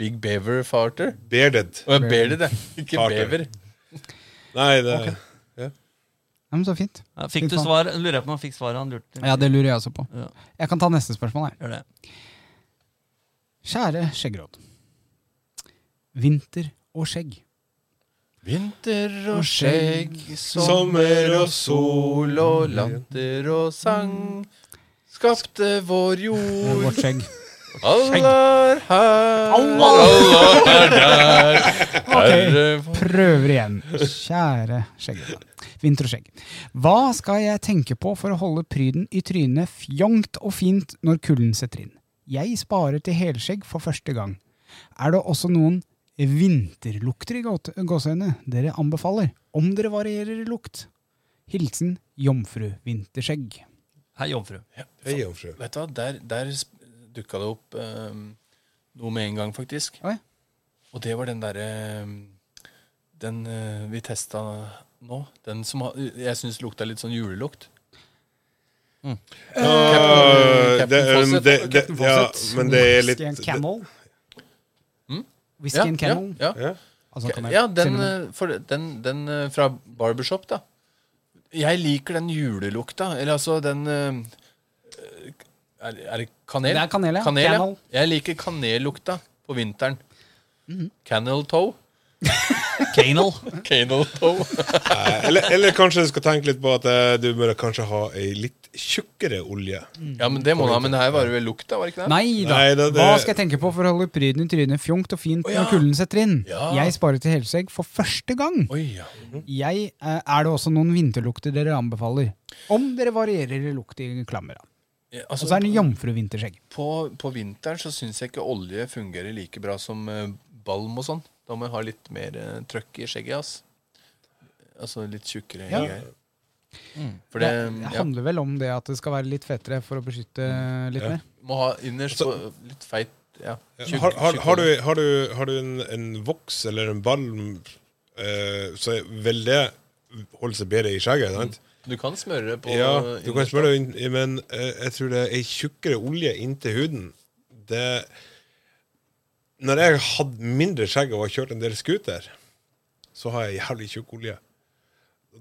Big beaver farter.
Bearded.
Og jeg ber det, det. Ikke
Farter.
bever.
Nei, det
Ja, men så fint.
Ja, Fikk du
Fy faen.
svar? Lurer jeg på om han fikk svaret han lurte
Ja, det lurer jeg også på.
Ja.
Jeg kan ta neste spørsmål. Jeg.
Gjør det.
Kjære skjeggråd. Vinter og skjegg.
Vinter og skjegg,
Sommer og sol
og latter og sang skapte vår
Det er
jord.
Vårt skjegg.
Allah er her,
Allah.
Allah er der. Herre vår-
Prøver igjen. Kjære skjeggråd. Vinter og skjegg. Hva skal jeg tenke på for å holde pryden i trynet fjongt og fint når kulden setter inn? Jeg sparer til helskjegg for første gang. Er det også noen vinterlukter i gåte- gåseøyne dere anbefaler? Om dere varierer i lukt? Hilsen Jomfru Vinterskjegg.
Hei, jomfru.
Hei, jomfru.
Vet du hva, der, der sp- dukka det opp eh, noe med en gang, faktisk.
Oi.
Og det var den derre eh, Den eh, vi testa nå. Den som ha, jeg syns lukta litt sånn julelukt.
Øh,
Captain
det, um,
Fawcett.
Eh, det, det, ja, men det er litt
Whisky and
det-
Camel.
Mm?
Whisky and
ja,
Camel.
ja.
ja.
Altså, kan jeg-
Ja, den,
til og med-
eh, for, den, den eh, fra Barbershop, da. Jeg liker den julelukta. Eller altså den eh, Er, er det kanel?
Det er kanel, ja.
Kanel, ja.
Camel.
Jeg liker kanellukta på vinteren.
Mhm.
Canel toe.
Canal.
Canel toe.
Nei, Eller, eller kanskje du skal tenke litt på at eh, du burde kanskje ha ei litt tjukkere olje.
ja, men det må da, men det her var jo vel lukta, var det ikke det?
Nei da.
Nei, det- det-
Hva skal jeg tenke på for å holde pryden i trynet fjongt og fint når kulden setter inn?
Ja. Mm.
Jeg sparer til helskjegg for første gang.
Oi, ja.
Jeg, eh, er det også noen vinterlukter dere anbefaler? Om dere varierer i lukt i klammer. da.
Ja,
Og
Altså,
så er det jomfruvinterskjegg.
på, på vinteren så syns jeg ikke olje fungerer like bra som eh, balm og sånn. Da må jeg ha litt mer eh, trøkk i skjegget, ass. Altså litt tjukkere
Ja.
greier.
Mm.
For det,
Det, det
ja,
handler vel om det at det skal være litt fetere for å beskytte litt mer.
må ha innerst på litt feit ja, tjukk-
Har, har,
tjukk
har,
hode.
du, har, du, har du en, en voks eller en balm, eh, så vil det holde seg bedre i skjegget. sant?
Du kan smøre det på
Ja, du kan smøre det inn, men eh, jeg tror det er ei tjukkere olje inntil huden. Det Når jeg hadde mindre skjegg og har kjørt en del scooter, så har jeg jævlig tjukk olje.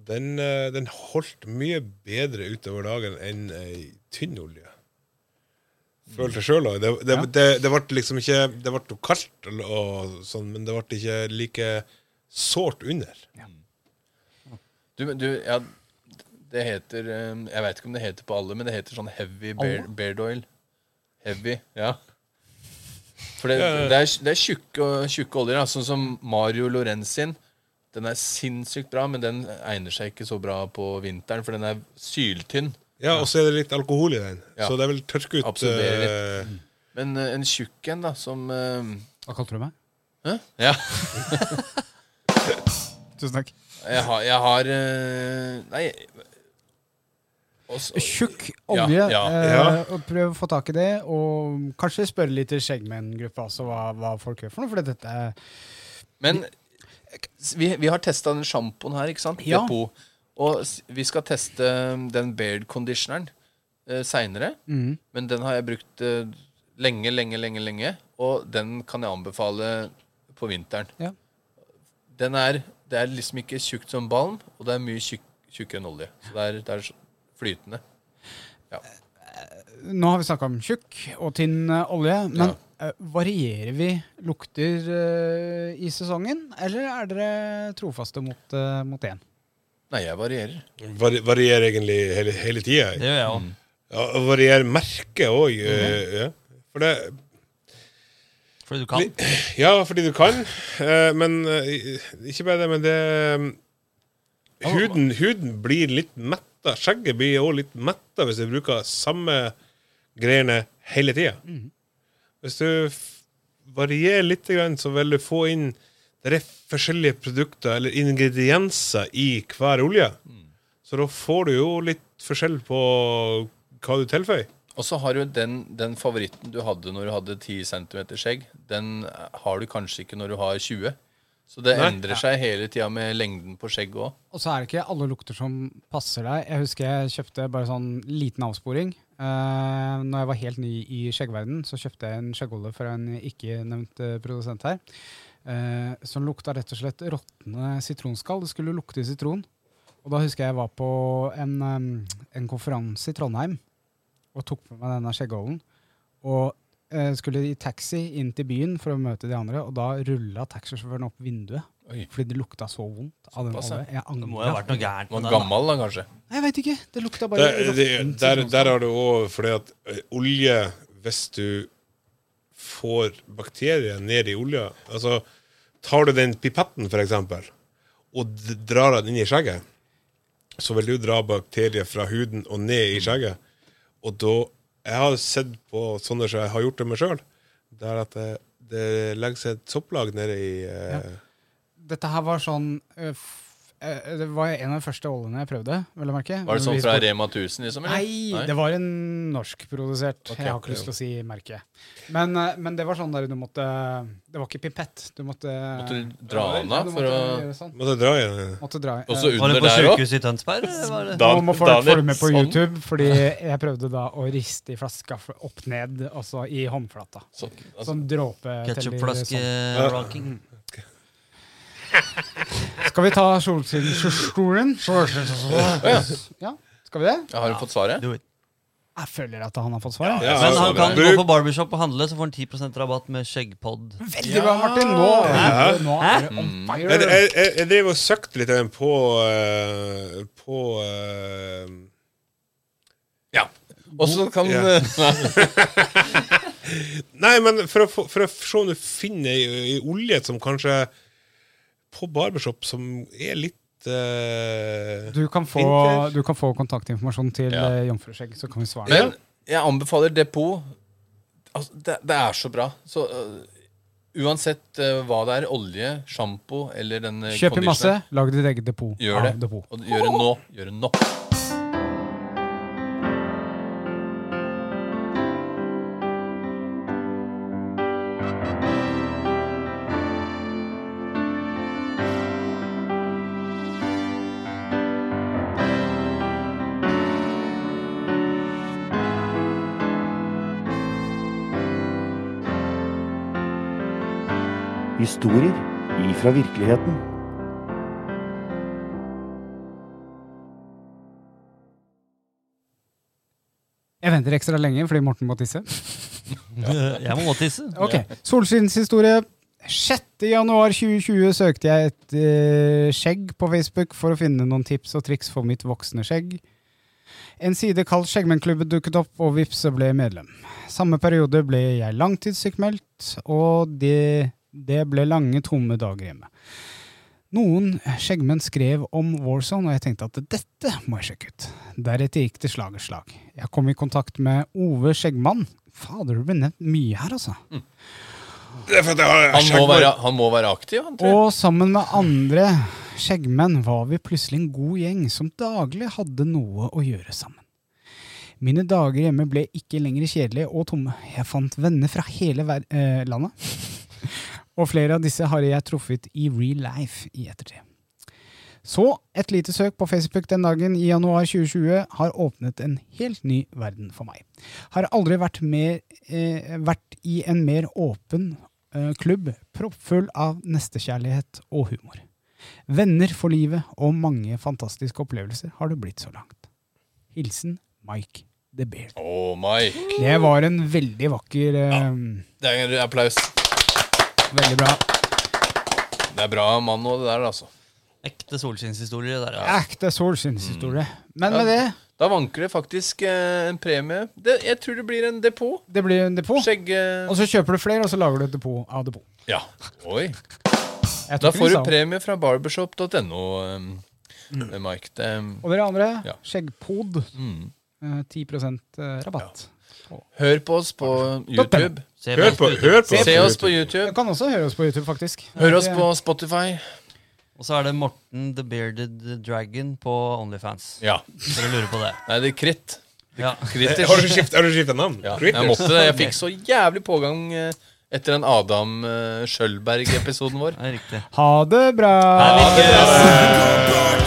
Den, eh, den holdt mye bedre utover dagen enn ei tynn olje. Føler seg sjøl òg. Det, det,
Ja.
det, det ble liksom ikke Det ble jo kaldt, og, og sånn, men det ble ikke like sårt under.
Du, men du, ja, det heter eh, Jeg veit ikke om det heter på alle, men det heter sånn heavy bear, beard oil. Heavy, ja. For det,
Ja, ja.
det er, det er tjukke, tjukke oljer, da, sånn som Mario Lorenzin. Den er sinnssykt bra, men den egner seg ikke så bra på vinteren, for den er syltynn.
Ja, Og så er det litt alkohol i den,
Ja.
så det vil tørke ut
Absorberer litt.
eh,
Men eh, en tjukk en, da, som eh,
Hva kalte du meg?
Hæ? Ja.
Tusen takk.
Jeg har, jeg har eh, Nei også,
Tjukk
Ja,
olje.
ja,
eh,
ja.
og prøv å få tak i det, og kanskje spørre litt i skjeggmenngruppa også hva, hva folk gjør for noe. For dette er
Men vi, vi har testa den sjampoen her, ikke sant?
Ja.
Depot. Og s- vi skal teste um, den beard conditioneren eh, seinere.
Mhm.
Men den har jeg brukt eh, lenge, lenge, lenge, lenge. Og den kan jeg anbefale på vinteren.
Ja.
Den er, det er liksom ikke tjukt som balm, og det er mye tjukk, tjukkere enn olje. Så det er, det er så flytende.
Nå har vi snakka om tjukk og tynn eh, olje, men eh, varierer vi lukter eh, i sesongen, eller er dere trofaste mot, eh, mot én?
Nei, jeg varierer.
Var, varierer egentlig hele, hele tida.
Det gjør jeg òg.
Ja, og varierer merket òg. ja. For det
Fordi du kan.
Ja, fordi du kan. eh, Men eh, ikke bare det, men det eh, Huden, huden blir litt metta. Skjegget blir òg litt metta hvis du bruker samme greiene hele tida. Hvis du f- varierer litt, grann, så vil du få inn Det er forskjellige produkter eller ingredienser i hver olje. Så da får du jo litt forskjell på hva du tilføyer.
Og så har du den, den favoritten du hadde når du hadde 10 cm skjegg, den har du kanskje ikke når du har 20. Så det
Nei.
endrer seg hele tida med lengden på skjegget òg.
Og så er det ikke alle lukter som passer deg. Jeg husker jeg kjøpte bare sånn liten avsporing. Uh, når jeg var helt ny i skjeggverden, så kjøpte jeg en skjeggolje fra en ikke-nevnt eh, produsent her. eh, som lukta rett og slett råtne sitronskall. Det skulle lukte sitron. Og da husker jeg jeg var på en, eh, en konferanse i Trondheim og tok på meg denne skjeggoljen. Og eh, skulle i taxi inn til byen for å møte de andre, og da rulla taxisjåføren opp vinduet.
Oi.
Fordi det lukta så vondt av den
Såpass,
oljen.
ja.
Jeg
Det må jo ha vært noe gærent med den.
Gammel, da, kanskje.
Nei, jeg veit ikke. Det lukta bare
Der, det-
råttent
der,
sitronskall.
der har du òg fordi at ø, olje Hvis du får bakterier ned i olja Altså, tar du den pipetten, for eksempel, og d- drar den inn i skjegget, så vil du dra bakterier fra huden og ned i skjegget. Og da Jeg har sett på sånne som jeg har gjort det meg sjøl, der at det, det legger seg et sopplag nede i eh,
Dette her var sånn øh, f- eh, Det var en av de første oljene jeg prøvde, vel å merke.
Var det
Men
sånn
vi
fra
spurte-
Rema 1000, liksom? eller?
Nei, det var en norskprodusert.
Ok,
jeg har ikke lyst til å si merket. Men, eh, men det var sånn der du måtte Det var ikke pipett. Du måtte
Måtte du dra
Ja,
den av
du
for
måtte
å-
gjøre Sånn.
Måtte dra i den.
Måtte dra
Og så
eh,
Var det
under
på
der òg?
sykehuset i Tønsberg? eller var det-
nå må folk følge med på
Danielsson.
YouTube, fordi jeg prøvde da å riste i flaska f- opp ned, altså i håndflata.
Så- altså,
Sånn dråpe sånn.
Ketchupflaske-ranking.
Skal vi ta solsiden Ja, skal vi det?
jeg har jo fått svaret.
Do it.
Jeg føler at han har fått svar.
Ja, altså,
Men
så
han kan
bra.
gå på barbershop og handle, så får han 10 rabatt med skjeggpod.
Veldig bra, Martin! Nå, er du- nå er du
Jeg,
on fire!
jeg, jeg, jeg drev og søkte litt grann på eh, På eh,
Ja. Og så kan
Ja. Nei, men for å, få- for å se om du finner ei ei olje som kanskje På barbershop som er litt eh,
Du kan, få,
Vinter.
du kan få kontaktinformasjon til
Ja.
eh, Jomfruskjegg, så kan vi svare.
Men jeg anbefaler Depot. Altså, det, det er så bra. Så øh, uansett øh, hva det er, olje, sjampo eller den øh,
Kjøp i masse,
conditioner,
lag ditt eget depot.
Gjør
av
det.
Depot.
Og gjør det nå. Gjør det nå.
Historier ifra virkeligheten.
Jeg venter ekstra lenge fordi Morten må tisse.
Jeg må tisse.
Ok, Solskinnshistorie. 6. januar 2020 søkte jeg et eh, skjegg på Facebook for å finne noen tips og triks for mitt voksne skjegg. En side kalt Skjeggmennklubben dukket opp, og vips, så ble jeg medlem. Samme periode ble jeg langtidssykmeldt, og det, det ble lange, tomme dager hjemme. Noen skjeggmenn skrev om Warzone, og jeg tenkte at dette må jeg sjekke ut. Deretter gikk det slag i slag. Jeg kom i kontakt med Ove Skjeggmann. Fader, du ble nevnt mye her, altså.
Det er for at jeg har
Han må være, han må være aktiv, han, tror jeg.
Og sammen med andre skjeggmenn var vi plutselig en god gjeng som daglig hadde noe å gjøre sammen. Mine dager hjemme ble ikke lenger kjedelige og tomme. Jeg fant venner fra hele ver eh, landet, og flere av disse har jeg truffet i real life i ettertid. Så et lite søk på Facebook den dagen i januar 2020 har åpnet en helt ny verden for meg. Har aldri vært, mer, eh, vært i en mer åpen eh, klubb proppfull av nestekjærlighet og humor. Venner for livet og mange fantastiske opplevelser har det blitt så langt. Hilsen Mike the Beard.
Oh my.
Det var en veldig vakker eh,
Det er en applaus.
Veldig bra.
Det er bra mann og det der, altså.
Ekte solskinnshistorie. det Der, ja.
Ekte solskinnshistorie. Men med det
Da vanker det faktisk eh, en premie. Det, jeg tror det blir en depot.
det blir en depot.
Skjegg... eh,
Og så kjøper du flere, og så lager du et depot av depot.
Ja. Oi.
Jeg
Da
tok
får du
Lisa.
premie fra barbershop.no, um, Mike. Det, um,
Og dere andre,
Ja.
skjeggpod.
Mm.
eh, 10 rabatt.
hør på oss på YouTube.
Se
Hør
på
på,
oss.
hør på.
Se oss på YouTube.
Du kan også høre oss på YouTube, faktisk.
Hør oss på Spotify.
Og så er det Morten the Bearded Dragon på Onlyfans.
Ja.
Dere lurer på det.
Nei, det er kritt.
Ja.
Kritisk.
Har du skift- har du skifta navn?
Ja, jeg
Critters.
måtte det. Jeg fikk så jævlig pågang eh, etter den Adam eh, Schjølberg-episoden vår.
Det er riktig.
Ha det bra!
Det er viktig.
Back